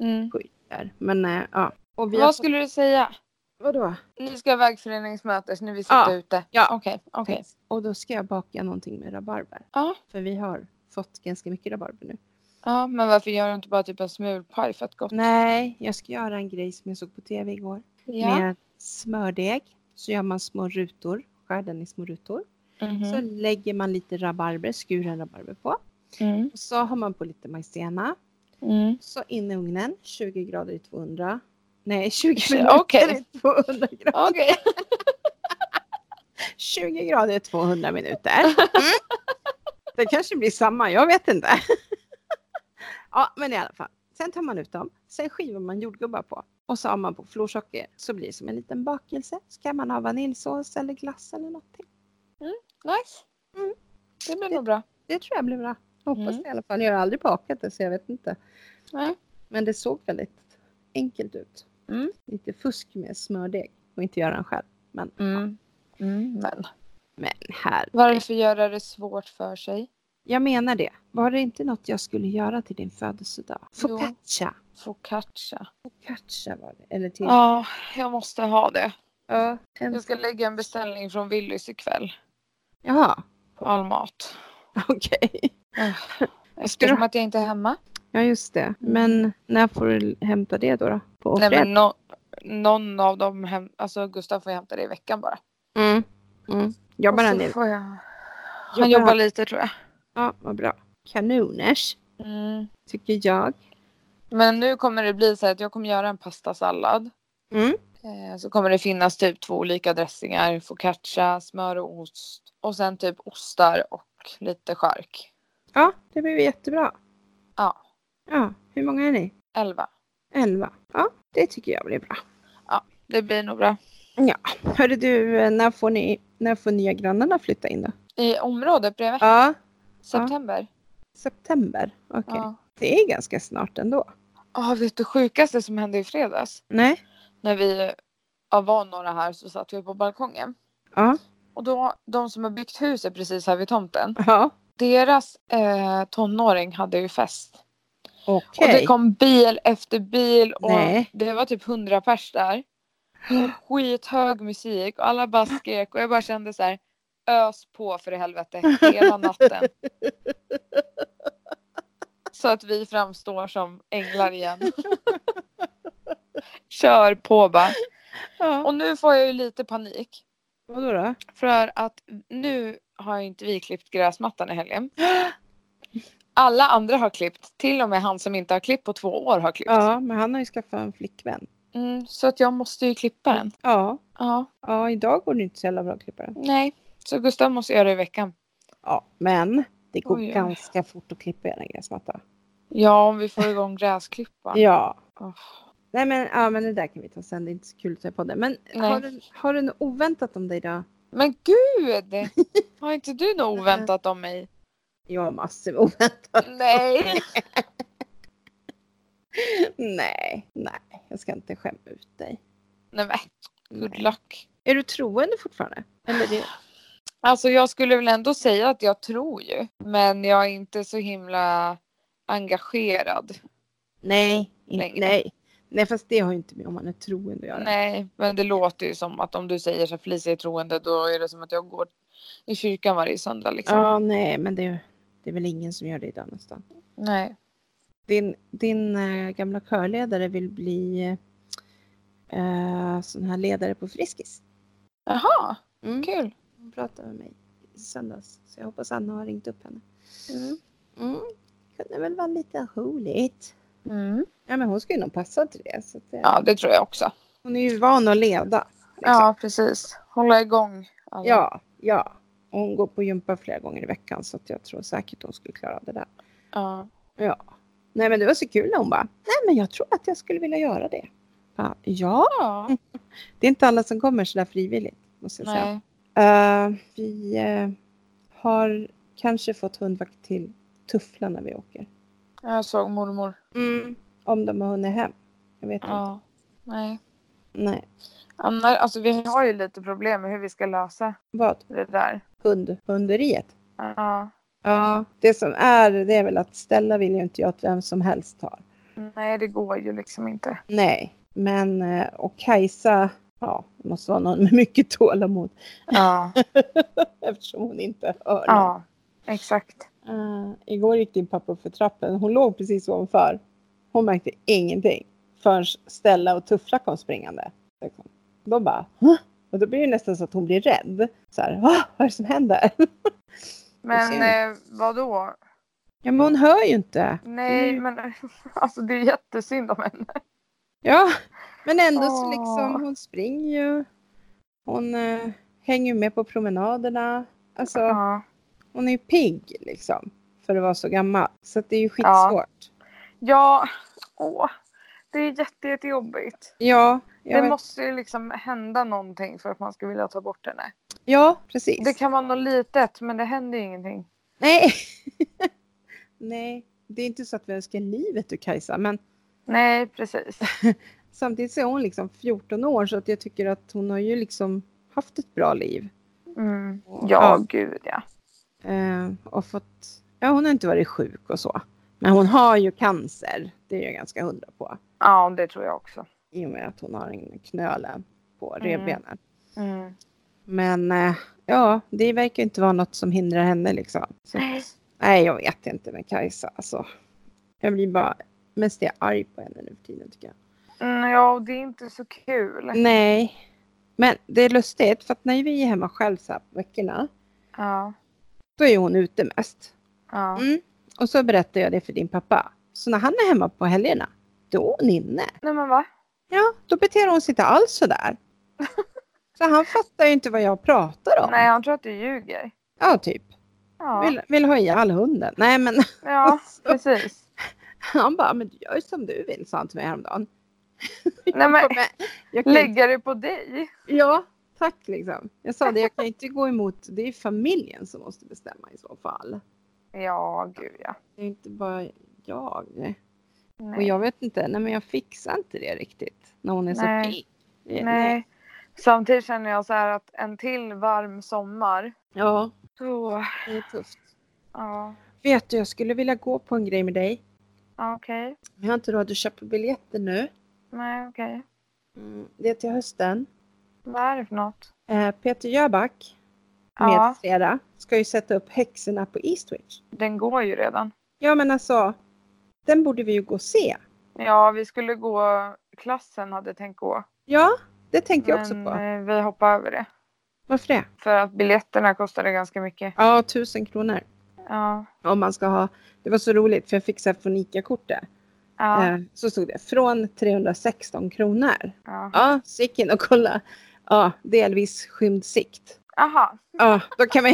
Speaker 2: Mm.
Speaker 1: Där. Men eh, ja. Och vi har
Speaker 2: Vad
Speaker 1: fått-
Speaker 2: skulle du säga?
Speaker 1: Vadå?
Speaker 2: Ni ska ha vägföreningsmöte så ni vill sitta
Speaker 1: Ja.
Speaker 2: ute?
Speaker 1: Ja.
Speaker 2: Okej, okej.
Speaker 1: Och då ska jag baka någonting med rabarber.
Speaker 2: Ja.
Speaker 1: För vi har fått ganska mycket rabarber nu.
Speaker 2: Ja, men varför gör du inte bara typ en smulpaj för att gott?
Speaker 1: Nej, jag ska göra en grej som jag såg på tv igår.
Speaker 2: Ja.
Speaker 1: Med smördeg. Så gör man små rutor. Skär den i små rutor.
Speaker 2: Mhm.
Speaker 1: Så lägger man lite rabarber, skuren rabarber på.
Speaker 2: Mm.
Speaker 1: Och så har man på lite majsena.
Speaker 2: Mm.
Speaker 1: Så in i ugnen, 20 grader i 200. Nej, 20
Speaker 2: Tjugo-
Speaker 1: minuter
Speaker 2: okej.
Speaker 1: i 200 grader.
Speaker 2: Okej. [laughs]
Speaker 1: 20 grader i 200
Speaker 2: [laughs]
Speaker 1: minuter. Mm. Det kanske blir samma, jag vet inte. Ja, men i alla fall. Sen tar man ut dem, sen skivar man jordgubbar på och så har man på florsocker så blir det som en liten bakelse. Så kan man ha vaniljsås eller glass eller någonting.
Speaker 2: Nice.
Speaker 1: Mm.
Speaker 2: Det blir nog bra.
Speaker 1: Det tror jag blir bra. Jag hoppas
Speaker 2: Mm.
Speaker 1: det i alla fall. Jag har aldrig bakat det så jag vet inte.
Speaker 2: Nej.
Speaker 1: Men det såg väldigt enkelt ut.
Speaker 2: Mm.
Speaker 1: Lite fusk med smördeg och inte göra den själv. Men,
Speaker 2: Mm. Men
Speaker 1: men här.
Speaker 2: varför göra det svårt för sig?
Speaker 1: Jag menar det. Var det inte något jag skulle göra till din födelsedag?
Speaker 2: Jo.
Speaker 1: Focaccia.
Speaker 2: Focaccia.
Speaker 1: Focaccia var det. Eller till...
Speaker 2: Ja, jag måste ha det.
Speaker 1: Ja, en-
Speaker 2: Jag ska lägga en beställning från Willys ikväll.
Speaker 1: Jaha, [laughs]
Speaker 2: All mat.
Speaker 1: okej.
Speaker 2: Eftersom att jag inte är hemma.
Speaker 1: Ja, just det. Mm. Men när får du hämta det då? då? På
Speaker 2: Nej,
Speaker 1: fredag?
Speaker 2: men nå- någon av dem, hem, alltså Gustav får hämta det i veckan bara.
Speaker 1: Mm. Mm. Jobbar
Speaker 2: Och
Speaker 1: han
Speaker 2: så
Speaker 1: nu?
Speaker 2: får jag...
Speaker 1: Jobbar
Speaker 2: Han jobbar
Speaker 1: han?
Speaker 2: lite tror jag.
Speaker 1: Ja, vad bra. Kanoners, tycker jag.
Speaker 2: Men nu kommer det bli så här att jag kommer göra en pastasallad.
Speaker 1: Mm.
Speaker 2: Eh, så kommer det finnas typ två olika dressingar. Focaccia, smör och ost. Och sen typ ostar och lite skärk.
Speaker 1: Ja, det blev jättebra.
Speaker 2: Ja,
Speaker 1: Ja, hur många är ni?
Speaker 2: elva.
Speaker 1: Elva. Ja, det tycker jag blir bra.
Speaker 2: Det blir nog bra.
Speaker 1: Hörru du, eh, när får, ni, när får nya grannarna flytta in då?
Speaker 2: I området bredvid.
Speaker 1: Ja,
Speaker 2: September.
Speaker 1: september. Okej.
Speaker 2: Ja.
Speaker 1: Det är ganska snart ändå.
Speaker 2: Ja, vet du sjukaste som hände i fredags?
Speaker 1: Nej.
Speaker 2: När vi ja, var några här så satt vi på balkongen.
Speaker 1: Ja.
Speaker 2: Och då, de som har byggt huset precis här vid tomten.
Speaker 1: Ja.
Speaker 2: Deras eh, tonåring hade ju fest.
Speaker 1: Okej.
Speaker 2: Och det kom bil efter bil och
Speaker 1: Nej.
Speaker 2: det var typ hundra pers där. Och skithög musik och alla bara skrek och jag bara kände så här ös på för i helvete
Speaker 1: [laughs]
Speaker 2: hela natten. Så att vi framstår som änglar igen. Kör på bara.
Speaker 1: Ja.
Speaker 2: Och nu får jag ju lite panik.
Speaker 1: Vadå då?
Speaker 2: För att nu har ju inte vi klippt gräsmattan
Speaker 1: [gasps]
Speaker 2: i helgen. Alla andra har klippt. Till och med han som inte har klippt på två år har klippt.
Speaker 1: Ja, men han har ju skaffat en flickvän.
Speaker 2: Mm, så att jag måste ju klippa den.
Speaker 1: Ja.
Speaker 2: Ja,
Speaker 1: Ja, idag går det inte så jävla bra att klippa den.
Speaker 2: nej. Så Gustav måste göra det i veckan.
Speaker 1: Ja, men det går
Speaker 2: Oj, oj.
Speaker 1: ganska fort att klippa i en gräsmatta.
Speaker 2: Ja, om vi får igång gräsklippan.
Speaker 1: Ja.
Speaker 2: Åh.
Speaker 1: Nej men, ja, men det där kan vi ta sen, det är inte så kul att ta på det. Men
Speaker 2: Nej.
Speaker 1: har du, har du något oväntat om dig då?
Speaker 2: Men gud! Har inte du något oväntat om mig?
Speaker 1: Jag har massor med oväntat. [laughs]
Speaker 2: Nej!
Speaker 1: nej, nej, jag ska inte skämma ut dig.
Speaker 2: Nej men, good
Speaker 1: Nej.
Speaker 2: luck.
Speaker 1: Är du troende fortfarande? Eller det...
Speaker 2: Alltså jag skulle väl ändå säga att jag tror ju. Men jag är inte så himla engagerad.
Speaker 1: Nej, inte,
Speaker 2: Längre.
Speaker 1: nej. Nej, fast det har ju inte med om man är troende att göra.
Speaker 2: Nej, men det låter ju som att om du säger så här, Felicia är troende då är det som att jag går i kyrkan varje söndag liksom.
Speaker 1: Ja, nej, men det, det är väl ingen som gör det idag nästan.
Speaker 2: Nej.
Speaker 1: Din, din eh, gamla körledare vill bli eh, sån här ledare på Friskis.
Speaker 2: Jaha,
Speaker 1: Mm.
Speaker 2: kul.
Speaker 1: Hon pratade med mig i söndags, så jag hoppas Anna har ringt upp henne. Mm. Kunde väl vara lite roligt.
Speaker 2: Mm.
Speaker 1: Ja, men hon ska ju nog passa till det. Så att, eh,
Speaker 2: Ja, det tror jag också.
Speaker 1: Hon är ju van att leda. liksom.
Speaker 2: Ja, precis. Hålla igång alla.
Speaker 1: Ja, ja. Och Hon går på gympa flera gånger i veckan så att jag tror säkert hon skulle klara det där.
Speaker 2: Ja.
Speaker 1: Nej men det var så kul när hon bara, nej men jag tror att jag skulle vilja göra det. Bara, ja,
Speaker 2: ja.
Speaker 1: det är inte alla som kommer sådär frivilligt måste jag säga.
Speaker 2: Nej.
Speaker 1: Eh, vi eh, har kanske fått hundvakt till Tuffla när vi åker.
Speaker 2: Jag såg mormor.
Speaker 1: Om de har hunnit hem. Jag vet inte.
Speaker 2: Mm. Ja. Nej.
Speaker 1: Nej.
Speaker 2: Annars, alltså vi har ju lite problem med hur vi ska lösa
Speaker 1: Vad?
Speaker 2: det där.
Speaker 1: Hund, hunderiet?
Speaker 2: Ja.
Speaker 1: Ja. Det som är, det är väl att Stella vill ju inte jag att vem som helst har.
Speaker 2: Nej, det går ju liksom inte.
Speaker 1: Nej, men eh, och Kajsa, ja, det måste vara någon med mycket tålamod
Speaker 2: Ja.
Speaker 1: [laughs] eftersom hon inte hör någon.
Speaker 2: Ja, exakt.
Speaker 1: Eh, igår gick din pappa upp för trappen. Hon låg precis ovanför. Hon märkte ingenting förrän Stella och Tuffla kom springande. Liksom. Då bara, Hå? och då blir det nästan så att hon blir rädd. Så här, "Va? vad är det som händer? [laughs]
Speaker 2: Men
Speaker 1: ser
Speaker 2: eh, vad då?
Speaker 1: Ja, men hon hör ju inte.
Speaker 2: Nej,
Speaker 1: Mm. Alltså.
Speaker 2: men [laughs] alltså det är jättesynd om henne.
Speaker 1: Ja, men ändå så
Speaker 2: Åh.
Speaker 1: liksom, hon springer ju. Hon eh, hänger ju med på promenaderna. Alltså,
Speaker 2: Ja.
Speaker 1: Hon är ju pigg liksom. För att vara så gammal. Så att det är ju skitsvårt.
Speaker 2: Ja, åh. Det är jätte, jättejobbigt.
Speaker 1: Ja, jag
Speaker 2: Det
Speaker 1: vet.
Speaker 2: måste ju liksom hända någonting för att man ska vilja ta bort henne.
Speaker 1: ja precis.
Speaker 2: Det kan vara något litet, men det händer ju ingenting.
Speaker 1: Nej. [laughs] Nej, det är inte så att vi önskar livet ur Kajsa. Men
Speaker 2: Nej, precis.
Speaker 1: samtidigt så är hon liksom 14 år så att jag tycker att hon har ju liksom haft ett bra liv.
Speaker 2: Mm. Ja,
Speaker 1: Ja.
Speaker 2: gud ja.
Speaker 1: Eh, och fått, ja hon har inte varit sjuk och så. Men hon har ju cancer. Det är jag ganska hundra på.
Speaker 2: Ja, det tror jag också.
Speaker 1: I och med att hon har en knöle på
Speaker 2: Mm.
Speaker 1: revbenen.
Speaker 2: Mm.
Speaker 1: Men eh, ja, det verkar inte vara något som hindrar henne liksom. Så, nej, jag vet inte med Kajsa alltså. Jag blir bara, mest är jag arg på henne nu för tiden tycker jag.
Speaker 2: Mm, ja, och det är inte så
Speaker 1: Mm.
Speaker 2: kul.
Speaker 1: Nej. Men det är lustigt för att när vi är hemma själv så här på veckorna.
Speaker 2: Ja.
Speaker 1: Då är hon ute mest.
Speaker 2: Ja.
Speaker 1: Mm. Och så berättar jag det för din pappa. Så när han är hemma på helgerna. Då är hon inne.
Speaker 2: Nej men va?
Speaker 1: Ja, då beter hon sig inte alls
Speaker 2: [laughs]
Speaker 1: sådär. Så han fattar ju inte vad jag pratar om.
Speaker 2: Nej, han tror att du ljuger.
Speaker 1: Ja, typ.
Speaker 2: Ja,
Speaker 1: Vill, vill ha ihjäl hunden. Nej, men
Speaker 2: ja precis.
Speaker 1: [laughs] han bara, men du gör ju som du vill, sa han till mig häromdagen.
Speaker 2: Nej, men,
Speaker 1: Men jag kan,
Speaker 2: lägga det på dig.
Speaker 1: Ja, tack liksom. Jag sa det, jag kan inte gå emot, det är ju familjen som måste bestämma i så fall.
Speaker 2: Ja, gud ja.
Speaker 1: Det är inte bara jag.
Speaker 2: Nej.
Speaker 1: Och jag vet inte, nej men jag fixar inte det riktigt. När hon är så
Speaker 2: Nej.
Speaker 1: pigg. Eh,
Speaker 2: Nej. Samtidigt känner jag så här att en till varm sommar.
Speaker 1: Ja,
Speaker 2: Så,
Speaker 1: det är tufft.
Speaker 2: ja.
Speaker 1: Vet du, jag skulle vilja gå på en grej med dig.
Speaker 2: ja, Okej.
Speaker 1: Jag har inte råd att köpa biljetter nu.
Speaker 2: Nej, okej.
Speaker 1: Det är till hösten.
Speaker 2: Vad är det för något?
Speaker 1: Eh, Peter Jöback med
Speaker 2: Ja,
Speaker 1: flera ska ju sätta upp häxorna på Eastwich.
Speaker 2: den går ju redan.
Speaker 1: Ja men alltså, den borde vi ju gå och se.
Speaker 2: Ja, vi skulle gå. Klassen hade tänkt gå.
Speaker 1: Ja, det tänkte jag också
Speaker 2: men,
Speaker 1: på.
Speaker 2: eh, vi hoppade över det.
Speaker 1: Varför det?
Speaker 2: För att biljetterna kostade ganska mycket.
Speaker 1: Ja, tusen kronor.
Speaker 2: Ja.
Speaker 1: Om man ska ha. Det var så roligt för jag fick så här från ICA-kortet.
Speaker 2: Ja.
Speaker 1: Eh, så stod det från 316 kronor.
Speaker 2: ja.
Speaker 1: Ja, så gick jag in och kolla. Ja, delvis skymd sikt.
Speaker 2: Aha.
Speaker 1: Ja, då kan man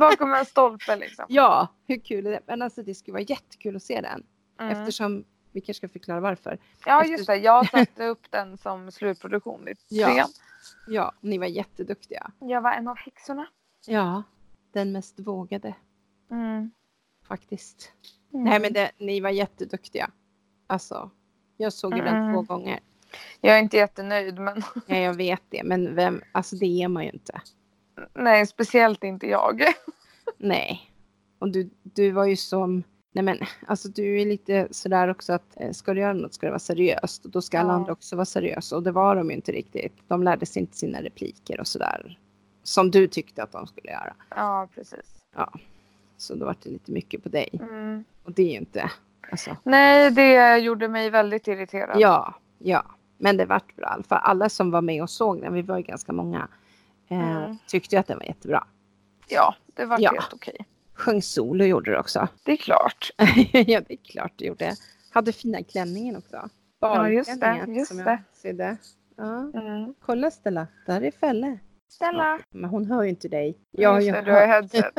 Speaker 2: Bakom en stolpe liksom.
Speaker 1: [laughs] Ja, hur kul är det? Men alltså det skulle vara jättekul att se den.
Speaker 2: Mm.
Speaker 1: Eftersom, vi kanske ska förklara varför.
Speaker 2: Ja
Speaker 1: efter-
Speaker 2: just det, jag satte upp den som slutproduktion vid
Speaker 1: Ja.
Speaker 2: trean.
Speaker 1: Ja, ni var jätteduktiga.
Speaker 2: Jag var en av häxorna.
Speaker 1: Ja, den mest vågade
Speaker 2: Mm.
Speaker 1: faktiskt. Nej men det, ni var jätteduktiga. Alltså, jag såg ju den
Speaker 2: Mm.
Speaker 1: två gånger.
Speaker 2: Jag är inte jättenöjd men [laughs]
Speaker 1: Ja, jag vet det, men vem, alltså det är man ju inte.
Speaker 2: nej speciellt inte jag. [laughs]
Speaker 1: Nej. Och du, du var ju som, nej men alltså du är lite sådär också att eh, ska du göra något ska det vara seriöst och då ska alla
Speaker 2: Ja.
Speaker 1: andra också vara seriösa och det var de ju inte riktigt. De lärde sig inte sina repliker och sådär som du tyckte att de skulle göra.
Speaker 2: Ja precis.
Speaker 1: Så då var det lite mycket på dig
Speaker 2: Mm.
Speaker 1: och det är ju inte, alltså
Speaker 2: Nej det gjorde mig väldigt irriterad.
Speaker 1: ja, ja. Men det vart bra i alla fall. Alla som var med och såg den, vi var ju ganska många, eh,
Speaker 2: Mm.
Speaker 1: tyckte ju att den var jättebra.
Speaker 2: Ja, det var
Speaker 1: Ja.
Speaker 2: helt okej.
Speaker 1: Sjöng solo gjorde det också.
Speaker 2: Det är klart.
Speaker 1: [laughs] ja, det är klart det gjorde. Hade fina klänningen också.
Speaker 2: Ja, just det,
Speaker 1: Barklänningen
Speaker 2: just
Speaker 1: som jag
Speaker 2: det.
Speaker 1: sydde. Ja.
Speaker 2: Mm.
Speaker 1: Kolla Stella, där är Felle.
Speaker 2: Stella.
Speaker 1: Men hon hör ju inte dig.
Speaker 2: Ja, just
Speaker 1: jag
Speaker 2: det, du
Speaker 1: hör.
Speaker 2: har headset.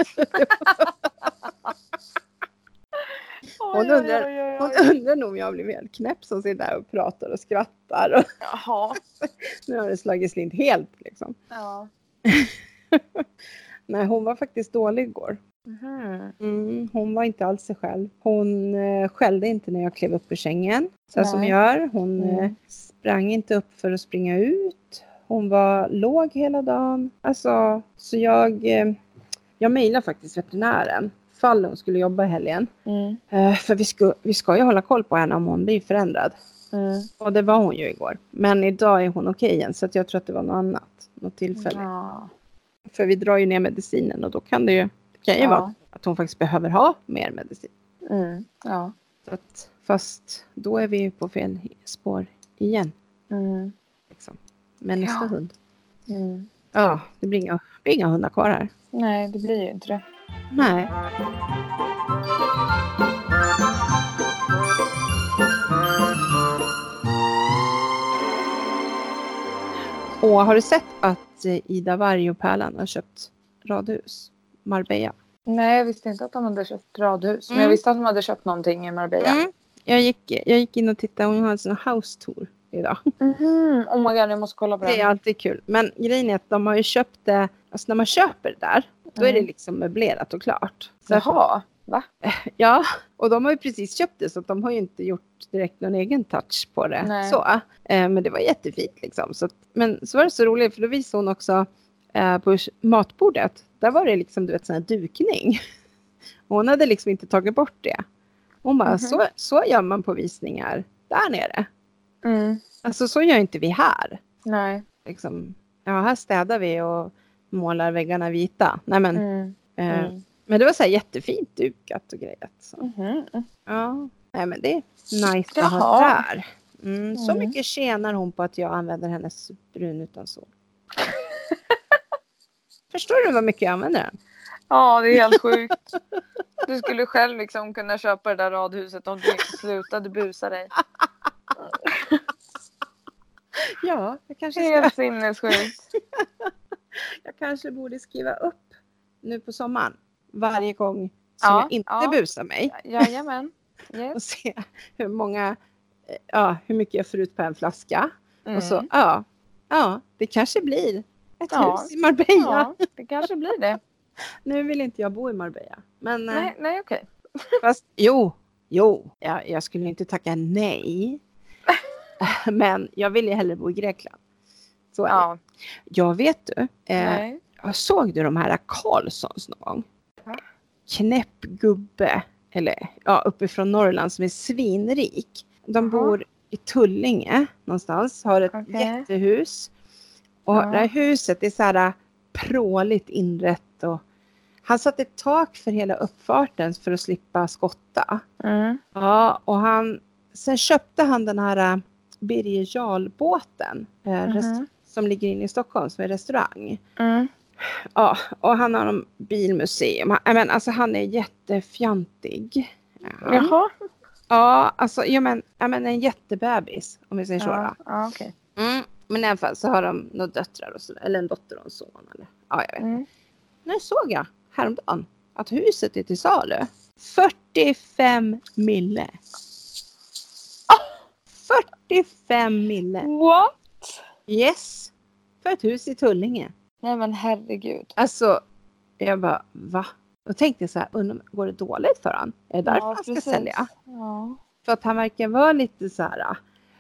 Speaker 1: Hon
Speaker 2: Oj, oj,
Speaker 1: undrar-
Speaker 2: oj, oj,
Speaker 1: [laughs] Hon
Speaker 2: oj.
Speaker 1: undrar nog om jag blev helt knäpp som sitter där och pratar och skrattar. Och [laughs]
Speaker 2: Jaha.
Speaker 1: nu har det slagit slint helt liksom.
Speaker 2: Ja.
Speaker 1: Nej, hon var faktiskt dålig igår.
Speaker 2: Mhm.
Speaker 1: Mm, hon var inte alls sig själv. Hon eh, skällde inte när jag klev upp ur sängen. Så här som
Speaker 2: Nej.
Speaker 1: jag gör. Hon
Speaker 2: Mm.
Speaker 1: eh, sprang inte upp för att springa ut. Hon var låg hela dagen. Alltså, så jag, eh, jag mejlade faktiskt veterinären. Fall hon skulle jobba i helgen.
Speaker 2: Mm.
Speaker 1: Eh, för vi ska, vi ska ju hålla koll på henne om hon blir förändrad.
Speaker 2: Mm.
Speaker 1: Och det var hon ju igår. Men idag är hon okej igen. Så att jag tror att det var något annat. Något tillfälle.
Speaker 2: Ja.
Speaker 1: För vi drar ju ner medicinen och då kan det ju, det kan ju vara
Speaker 2: Ja.
Speaker 1: att hon faktiskt behöver ha mer medicin.
Speaker 2: Mm. Ja.
Speaker 1: Så att, fast då är vi ju på fel spår igen.
Speaker 2: Mm.
Speaker 1: Liksom. Med nästa
Speaker 2: Ja.
Speaker 1: hund.
Speaker 2: Mm.
Speaker 1: Ja, det blir inga, det blir inga hundar kvar här.
Speaker 2: Nej, det blir ju inte det.
Speaker 1: Nej. Och har du sett att eh, Ida Varg och Pärlan har köpt radhus? Marbella.
Speaker 2: Nej, jag visste inte att de hade köpt radhus. Men
Speaker 1: Mm.
Speaker 2: jag visste att de hade köpt någonting i Marbella.
Speaker 1: Mm. Jag, gick, jag gick in och tittade. Hon hade sån house tour idag.
Speaker 2: Mhm. Oh my god, jag måste kolla på
Speaker 1: Mm. Det är
Speaker 2: den.
Speaker 1: alltid kul. Men grejen är att de har ju köpt det, alltså när man köper det där, då är det
Speaker 2: Mm.
Speaker 1: liksom möblerat och klart. Så att,
Speaker 2: Jaha.
Speaker 1: ja, och de har ju precis köpt det så att de har ju inte gjort direkt någon egen touch på det.
Speaker 2: Nej.
Speaker 1: Så, eh, men det var jättefint liksom. Så att, men så var det så roligt för då visade hon också eh, på matbordet, där var det liksom du vet sån här dukning. [laughs] Och Hon hade liksom inte tagit bort det. Hon bara,
Speaker 2: Mhm.
Speaker 1: så, så gör man på visningar där nere.
Speaker 2: Mm.
Speaker 1: Alltså så gör inte vi här
Speaker 2: Nej.
Speaker 1: liksom, ja här städar vi och målar väggarna vita. Nej, men,
Speaker 2: Mm.
Speaker 1: eh,
Speaker 2: Mm.
Speaker 1: men det var så här jättefint dukat och grejat. Så.
Speaker 2: Mhm.
Speaker 1: Ja. Nej men det är nice att ha
Speaker 2: Jaha.
Speaker 1: där. Mm, så
Speaker 2: Mm.
Speaker 1: mycket tjänar hon på att jag använder hennes brun utan [laughs] sol. Förstår du vad mycket jag använder den?
Speaker 2: Ja, det är helt sjukt. Du skulle själv liksom kunna köpa det där radhuset om du inte slutade busa dig.
Speaker 1: Ja, jag kanske, ska,
Speaker 2: Helt sinnessjukt.
Speaker 1: jag kanske borde skriva upp nu på sommaren varje gång som
Speaker 2: Ja,
Speaker 1: jag inte
Speaker 2: ja.
Speaker 1: busar mig
Speaker 2: Jajamän. Yes.
Speaker 1: och se hur många, eh, ja, hur mycket jag får ut på en flaska. [laughs]
Speaker 2: Mm.
Speaker 1: Och så, ja, ja, det kanske blir ett
Speaker 2: Ja.
Speaker 1: hus i Marbella.
Speaker 2: Mm. Ja, det kanske
Speaker 1: [laughs]
Speaker 2: blir det.
Speaker 1: Nu vill inte jag bo i Marbella, men eh,
Speaker 2: Nej, nej okej.
Speaker 1: Fast, jo, jo. Jag, jag skulle inte tacka
Speaker 2: [laughs]
Speaker 1: nej. Men jag vill ju hellre bo i Grekland. Så är det.
Speaker 2: Ja,
Speaker 1: Jag vet du, eh,
Speaker 2: nej.
Speaker 1: såg du de här Karlssons någon gång?
Speaker 2: Va?
Speaker 1: Knäpp gubbe, eller ja, uppifrån Norrland som är svinrik. De
Speaker 2: Jaha.
Speaker 1: bor i Tullinge någonstans, har ett
Speaker 2: Okej.
Speaker 1: jättehus. Och
Speaker 2: Ja.
Speaker 1: det här huset är så här eh, pråligt inrett och han satte ett tak för hela uppfarten för att slippa skotta.
Speaker 2: Mm.
Speaker 1: Ja, och han, sen köpte han den här äh, Birger Jarl-båten eh, rest-
Speaker 2: Mhm.
Speaker 1: som ligger inne i Stockholm som är restaurang.
Speaker 2: Mm.
Speaker 1: Ja, och han har en bilmuseum. Han, men, alltså, han är jättefjantig. Ja,
Speaker 2: Jaha.
Speaker 1: ja alltså ja, men, ja, men en jättebebis om vi säger så.
Speaker 2: Ja,
Speaker 1: då.
Speaker 2: ja okej.
Speaker 1: Mm. Men i alla fall så har de några döttrar och så, eller en dotter och en son. Eller, ja, jag vet.
Speaker 2: Mm.
Speaker 1: Nu såg jag häromdagen att huset är till salu. 45 mille. 45 mille.
Speaker 2: What?
Speaker 1: Yes. För ett hus i Tullinge.
Speaker 2: Nej men herregud.
Speaker 1: Alltså, jag bara va? Då tänkte jag så här, undrar, går det dåligt för han? Är det därför han ska sälja?
Speaker 2: Ja.
Speaker 1: För att han verkar vara lite så här. ah,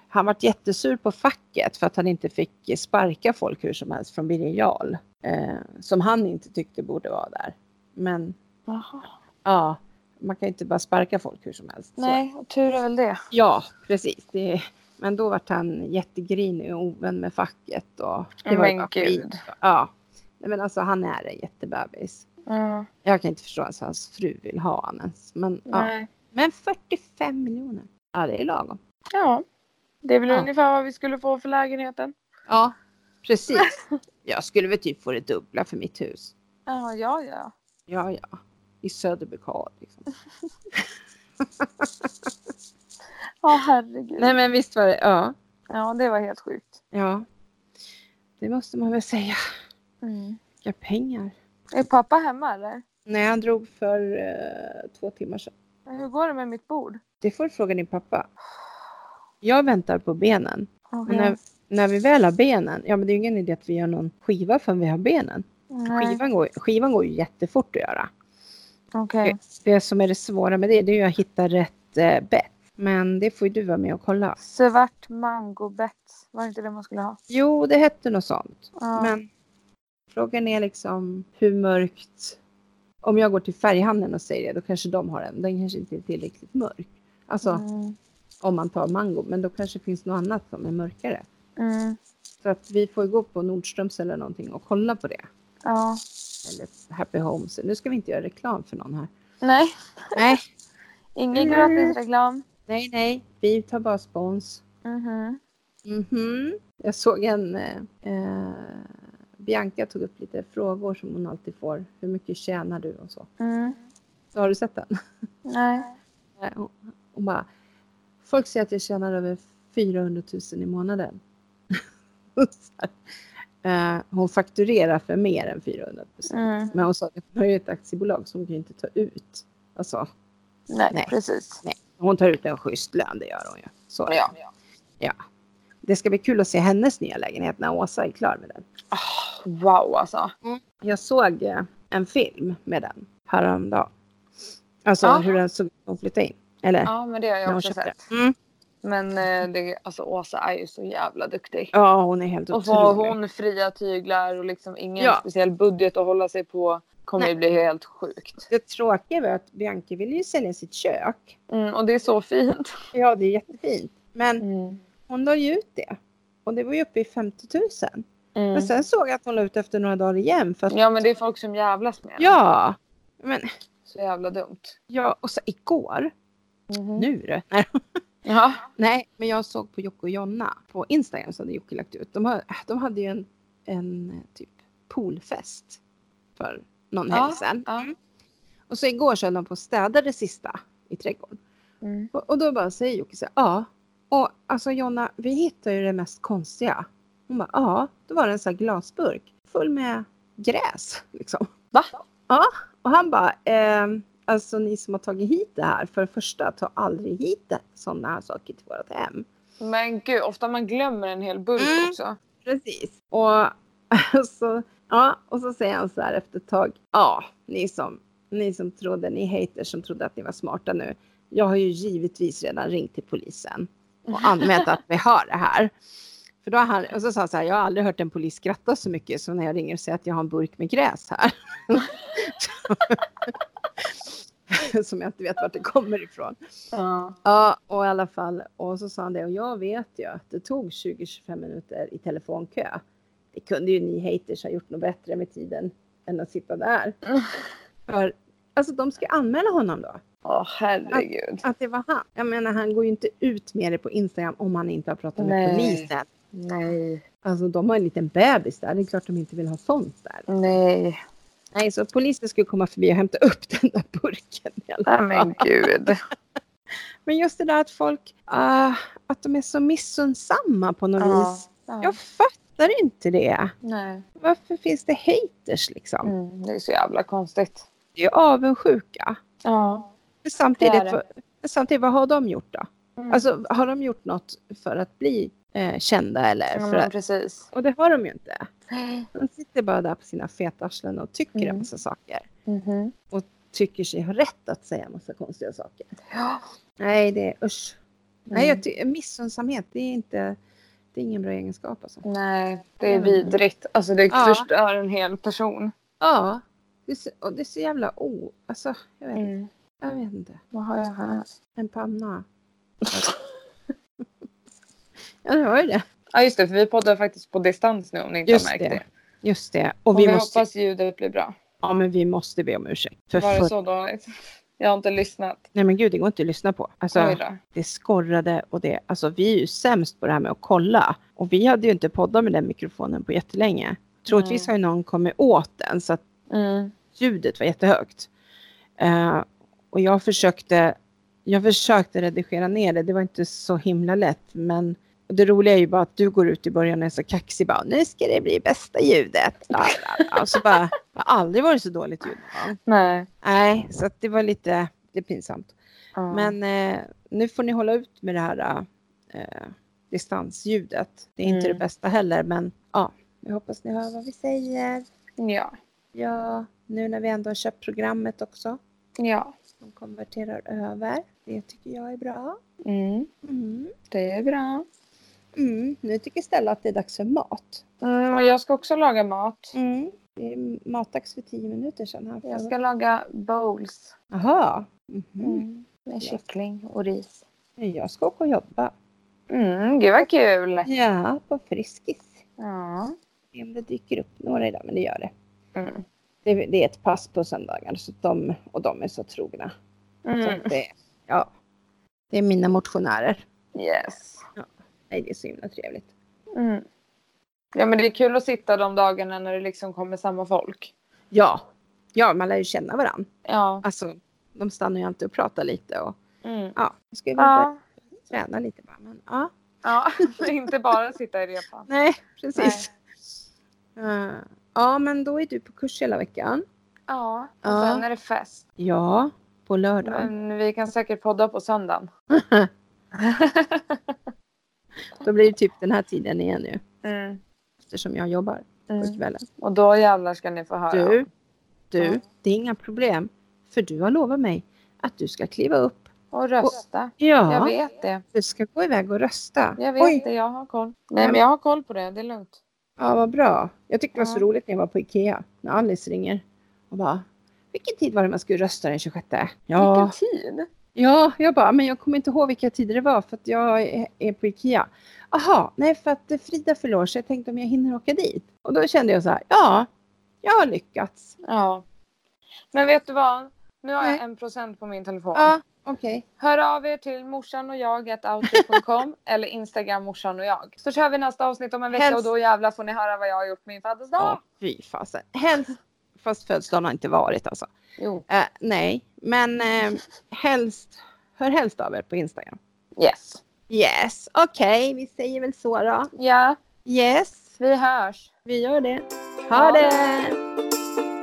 Speaker 1: Han vart jättesur på facket för att han inte fick sparka folk hur som helst från Birger Jarl. Eh, som han inte tyckte borde vara där. Men
Speaker 2: Jaha.
Speaker 1: Ja, man kan ju inte bara sparka folk hur som helst. Så-
Speaker 2: Nej, tur är väl det.
Speaker 1: Ja, precis. Det, men då vart han jättegrinig och ovän med facket. Och det var ju
Speaker 2: Men
Speaker 1: bara
Speaker 2: gud.
Speaker 1: skit. Ja. Nej, men alltså han är en jättebebis.
Speaker 2: Ja.
Speaker 1: Jag kan inte förstå ens vad hans fru vill ha han ens. Men, ja.
Speaker 2: Nej.
Speaker 1: men 45 miljoner. Ja, det är lagom.
Speaker 2: Ja. Det är väl
Speaker 1: Ja.
Speaker 2: ungefär vad vi skulle få för lägenheten.
Speaker 1: Ja, [laughs] precis. Jag skulle väl typ få det dubbla för mitt hus.
Speaker 2: Ja, ja, ja.
Speaker 1: Ja, ja. I Söderbykard liksom.
Speaker 2: Ja, herregud.
Speaker 1: Nej, men visst var det. Ja.
Speaker 2: Ja, det var helt sjukt.
Speaker 1: Ja. Det måste man väl säga.
Speaker 2: Mm.
Speaker 1: Vilka pengar.
Speaker 2: Är pappa hemma eller?
Speaker 1: Nej, han drog för eh, två timmar sedan.
Speaker 2: Hur går det med mitt bord?
Speaker 1: Det får du fråga din pappa. Jag väntar på benen. Men
Speaker 2: Okej.
Speaker 1: när, när vi väl har benen, ja men det är ju ingen idé att vi gör någon skiva förrän vi har benen.
Speaker 2: Nej.
Speaker 1: Skivan går, skivan går ju jättefort att göra.
Speaker 2: Okej.
Speaker 1: Det som är det svåra med det, det är ju att hitta rätt eh, bett. Men det får ju du vara med och kolla.
Speaker 2: Svart mangobett. Var det inte det man skulle ha?
Speaker 1: Jo, det hette något sånt.
Speaker 2: Ja.
Speaker 1: Men frågan är liksom hur mörkt. Om jag går till färghandeln och säger det, då kanske de har en. Den kanske inte är tillräckligt mörk. Alltså,
Speaker 2: Mm.
Speaker 1: om man tar mango. Men då kanske det finns något annat som är mörkare.
Speaker 2: Mm.
Speaker 1: Så att vi får ju gå på Nordströms eller någonting och kolla på det.
Speaker 2: Ja.
Speaker 1: Eller Happy Homes. Nu ska vi inte göra reklam för någon här.
Speaker 2: Nej,
Speaker 1: [laughs] Nej,
Speaker 2: ingen
Speaker 1: Mm.
Speaker 2: gratisreklam.
Speaker 1: nej, nej. Vi tar bara spons.
Speaker 2: Mhm.
Speaker 1: Mhm. Jag såg en... Eh, eh, Bianca tog upp lite frågor som hon alltid får. Hur mycket tjänar du och så.
Speaker 2: Mm.
Speaker 1: så har du sett den?
Speaker 2: Nej.
Speaker 1: Eh, Hon, hon bara... Folk säger att jag tjänar över 400 000 i månaden. [laughs] Så här. Eh, hon fakturerar för mer än 400 000.
Speaker 2: Mm.
Speaker 1: Men hon sa att hon är ju ett aktiebolag som kan ju inte ta ut. Alltså,
Speaker 2: Nej,
Speaker 1: Nej.
Speaker 2: precis.
Speaker 1: hon tar ut en schysst lön, det gör hon ju. Så är det.
Speaker 2: Ja.
Speaker 1: ja. Det ska bli kul att se hennes nya lägenhet när Åsa är klar med den.
Speaker 2: Wow alltså.
Speaker 1: Jag såg eh, en film med den häromdagen. Alltså
Speaker 2: Ja.
Speaker 1: hur den såg ut när hon flyttade in. Eller
Speaker 2: Ja, men det har
Speaker 1: när
Speaker 2: jag
Speaker 1: hon
Speaker 2: också
Speaker 1: köpte
Speaker 2: sett.
Speaker 1: den. Mm.
Speaker 2: Men eh, det, alltså, Åsa är ju så jävla duktig.
Speaker 1: Ja, hon är helt
Speaker 2: Och får
Speaker 1: otrolig.
Speaker 2: hon fria tyglar och liksom ingen
Speaker 1: Ja.
Speaker 2: speciell budget att hålla sig på kommer
Speaker 1: Nej.
Speaker 2: ju bli helt sjukt.
Speaker 1: Det tråkiga var att Bianca ville ju sälja sitt kök.
Speaker 2: Mm, och det är så fint.
Speaker 1: Ja, det är jättefint. Men
Speaker 2: Mm.
Speaker 1: hon la ju ut det. Och det var ju uppe i 50 000.
Speaker 2: Mm.
Speaker 1: Men sen såg jag att hon la ut efter några dagar igen. För att
Speaker 2: Ja men det är folk som jävlas med den.
Speaker 1: Ja, men
Speaker 2: Så jävla dumt.
Speaker 1: ja, och så igår.
Speaker 2: Mhm.
Speaker 1: Nu du. Mm. Nej.
Speaker 2: Ja.
Speaker 1: Nej, men jag såg på Jocke och Jonna på Instagram som hade Jocke lagt ut. De, har, de hade ju en, en eh, typ poolfest för någon helg sedan.
Speaker 2: ja.
Speaker 1: Och så igår så höll de på att städa det sista i trädgården.
Speaker 2: Mm.
Speaker 1: Och, och då bara säger Jocke så här, ja. Och alltså Jonna, vi hittar ju det mest konstiga. Hon bara, ja. Då var det en sån här glasburk full med gräs liksom.
Speaker 2: Va?
Speaker 1: Ja. Och han bara, ehm, alltså ni som har tagit hit det här, för det första, ta aldrig hit sådana här saker till vårt hem.
Speaker 2: Men gud, ofta man glömmer en hel burk
Speaker 1: Mm.
Speaker 2: också.
Speaker 1: Precis. Och [laughs] så, ja, och så säger han så här efter ett tag. Ja, ni som, ni som trodde, ni haters som trodde att ni var smarta nu. Jag har ju givetvis redan ringt till polisen och anmält att vi har det här. För då har han, och så sa han så här, jag har aldrig hört en polis skratta så mycket som när jag ringer och säger att jag har en burk med gräs här. [laughs] som jag inte vet vart det kommer ifrån.
Speaker 2: Ja.
Speaker 1: Ja, och i alla fall. Och så sa han det. Och jag vet ju att det tog 20-25 minuter i telefonkö. Det kunde ju ni haters ha gjort något bättre med tiden än att sitta [laughs] där.
Speaker 2: Mm.
Speaker 1: För alltså de ska anmäla honom då.
Speaker 2: Åh herregud.
Speaker 1: Att det var han. Jag menar han går ju inte ut med det på Instagram om han inte har pratat med
Speaker 2: Nej.
Speaker 1: polisen.
Speaker 2: Nej.
Speaker 1: Alltså de har en liten bebis där. Det är klart de inte vill ha sånt där.
Speaker 2: Nej.
Speaker 1: Nej, så polisen skulle komma förbi och hämta upp [laughs] den där burken. i alla
Speaker 2: Nej men gud.
Speaker 1: Men just det där att folk, ah, att de är så missunnsamma på något vis.
Speaker 2: Ja.
Speaker 1: Jag fattar inte det.
Speaker 2: Nej.
Speaker 1: Varför finns det haters liksom?
Speaker 2: Mm, det är så jävla konstigt.
Speaker 1: Det är ju avundsjuka.
Speaker 2: Ja.
Speaker 1: Men samtidigt,
Speaker 2: Det är det.
Speaker 1: vad- men samtidigt, vad har de gjort då?
Speaker 2: Mm.
Speaker 1: Alltså har de gjort något för att bli eh, kända eller?
Speaker 2: ja,
Speaker 1: för
Speaker 2: men
Speaker 1: att,
Speaker 2: precis.
Speaker 1: och det har de ju inte. De sitter bara där på sina feta arslen och tycker en
Speaker 2: Mm.
Speaker 1: massa saker.
Speaker 2: Mhm.
Speaker 1: Tycker sig ha rätt att säga en massa konstiga saker.
Speaker 2: Ja.
Speaker 1: Nej, det är usch. Nej,
Speaker 2: Mm.
Speaker 1: jag ty- missunnsamhet, det är inte, det är ingen bra egenskap alltså.
Speaker 2: Nej, det är
Speaker 1: Mm.
Speaker 2: vidrigt. Alltså det
Speaker 1: Ja.
Speaker 2: förstör en hel person.
Speaker 1: Ja, det är så, och det är så jävla o... Oh, alltså, jag
Speaker 2: Mm.
Speaker 1: vet, jag vet inte.
Speaker 2: Vad har jag här?
Speaker 1: En panna. [laughs] ja, det var ju det.
Speaker 2: Ja just det, för vi poddar faktiskt på distans nu om ni inte
Speaker 1: Just
Speaker 2: har märkt
Speaker 1: det.
Speaker 2: det.
Speaker 1: Just det. Och
Speaker 2: Och
Speaker 1: vi,
Speaker 2: vi,
Speaker 1: måste,
Speaker 2: hoppas ljudet blir bra.
Speaker 1: ja, men vi måste be om ursäkt. För
Speaker 2: Var det
Speaker 1: för,
Speaker 2: så dåligt? [laughs] Jag har inte lyssnat.
Speaker 1: nej men gud, det går inte att lyssna på. Alltså,
Speaker 2: Oj då.
Speaker 1: det skorrade och det, alltså vi är ju sämst på det här med att kolla. Och vi hade ju inte poddat med den mikrofonen på jättelänge. Troligtvis har ju någon kommit åt den så att
Speaker 2: Mm.
Speaker 1: ljudet var jättehögt. Eh, och jag försökte, jag försökte redigera ner det, det var inte så himla lätt. Men det roliga är ju bara att du går ut i början och är så kaxig bara, nu ska det bli bästa ljudet. [laughs] Bla, bla, bla. Och så bara, jag har aldrig varit så dåligt ljud. någon gång.
Speaker 2: Nej.
Speaker 1: Nej, så att det var lite, det är pinsamt.
Speaker 2: Ja.
Speaker 1: Men eh, nu får ni hålla ut med det här eh, distansljudet. Det är inte
Speaker 2: Mm.
Speaker 1: det bästa heller, men ja, jag hoppas ni hör vad vi säger.
Speaker 2: Ja.
Speaker 1: Ja, nu när vi ändå har köpt programmet också
Speaker 2: Ja.
Speaker 1: som konverterar över. Det tycker jag är bra.
Speaker 2: Mm.
Speaker 1: Mm.
Speaker 2: Det är bra.
Speaker 1: Mm. Nu tycker Stella att det är dags för mat.
Speaker 2: Mm, och jag ska också laga mat.
Speaker 1: Mm. Det är matdags för tio minuter sedan. Här
Speaker 2: Jag ska laga bowls.
Speaker 1: Jaha. Mhm.
Speaker 2: Mm. Med
Speaker 1: Ja.
Speaker 2: kyckling och ris.
Speaker 1: Jag ska åka och jobba.
Speaker 2: Mm, gud vad kul.
Speaker 1: Ja, på Friskis.
Speaker 2: Ja.
Speaker 1: Se om det dyker upp några idag, men det gör det.
Speaker 2: Mm.
Speaker 1: Det, det är ett pass på söndagar så att de, och de är så trogna. Så
Speaker 2: Mm.
Speaker 1: att det, ja. det är mina motionärer.
Speaker 2: Yes.
Speaker 1: Nej, det är så himla trevligt.
Speaker 2: Mm. Ja men det är kul att sitta de dagarna när det liksom kommer samma folk.
Speaker 1: Ja, ja man lär ju känna varandra.
Speaker 2: Ja.
Speaker 1: Alltså, de stannar ju alltid och pratar lite och
Speaker 2: Mm.
Speaker 1: ja, jag skulle vilja
Speaker 2: Ja.
Speaker 1: börja träna lite bara. Men, ja.
Speaker 2: ja. [laughs] Inte bara sitta i repan.
Speaker 1: Nej, [laughs] precis. Eh, ja, men då är du på kurs hela veckan.
Speaker 2: Ja. Och
Speaker 1: Ja.
Speaker 2: sen är det fest.
Speaker 1: Ja, på lördag.
Speaker 2: Men vi kan säkert podda på söndagen.
Speaker 1: Då blir det typ den här tiden igen nu
Speaker 2: Mm.
Speaker 1: eftersom jag jobbar på
Speaker 2: Mm.
Speaker 1: kvällen.
Speaker 2: Och då jävlar ska ni få höra.
Speaker 1: Du, du,
Speaker 2: Ja.
Speaker 1: det är inga problem. För du har lovat mig att du ska kliva upp.
Speaker 2: Och rösta. Jag
Speaker 1: Ja,
Speaker 2: vet det.
Speaker 1: du ska gå iväg och rösta.
Speaker 2: Jag vet
Speaker 1: Oj,
Speaker 2: det. Jag har koll. Nej men jag har koll på det. Det är lugnt.
Speaker 1: Ja, vad bra. Jag tyckte det var så
Speaker 2: Ja.
Speaker 1: roligt när jag var på Ikea. När Alice ringer och bara Vilken tid var det man skulle rösta den 26? Ja,
Speaker 2: Vilken tid.
Speaker 1: ja jag bara, men jag kommer inte ihåg vilka tider det var för att jag är- är på Ikea. Aha, nej för att eh, Frida förlorar så jag tänkte om jag hinner åka dit. Och då kände jag så här, ja, jag har lyckats.
Speaker 2: Ja. Men vet du vad? Nu har jag
Speaker 1: Nej.
Speaker 2: en procent på min telefon.
Speaker 1: Ja, okej.
Speaker 2: Hör av er till morsan och jag
Speaker 1: [laughs]
Speaker 2: outlook.com eller Instagram morsan och jag. Så kör vi nästa avsnitt om en vecka
Speaker 1: Helst-
Speaker 2: och då jävlar får ni höra vad jag har gjort på min födelsedag.
Speaker 1: Ja, fy fasen. Helst, fast födelsedagen har inte varit alltså.
Speaker 2: Jo.
Speaker 1: Eh, nej, men eh, helst, hör helst av er på Instagram.
Speaker 2: Yes.
Speaker 1: Yes, okej, vi säger väl så då.
Speaker 2: Ja,
Speaker 1: Yes,
Speaker 2: vi hörs.
Speaker 1: vi gör det.
Speaker 2: Ha
Speaker 1: Ha det!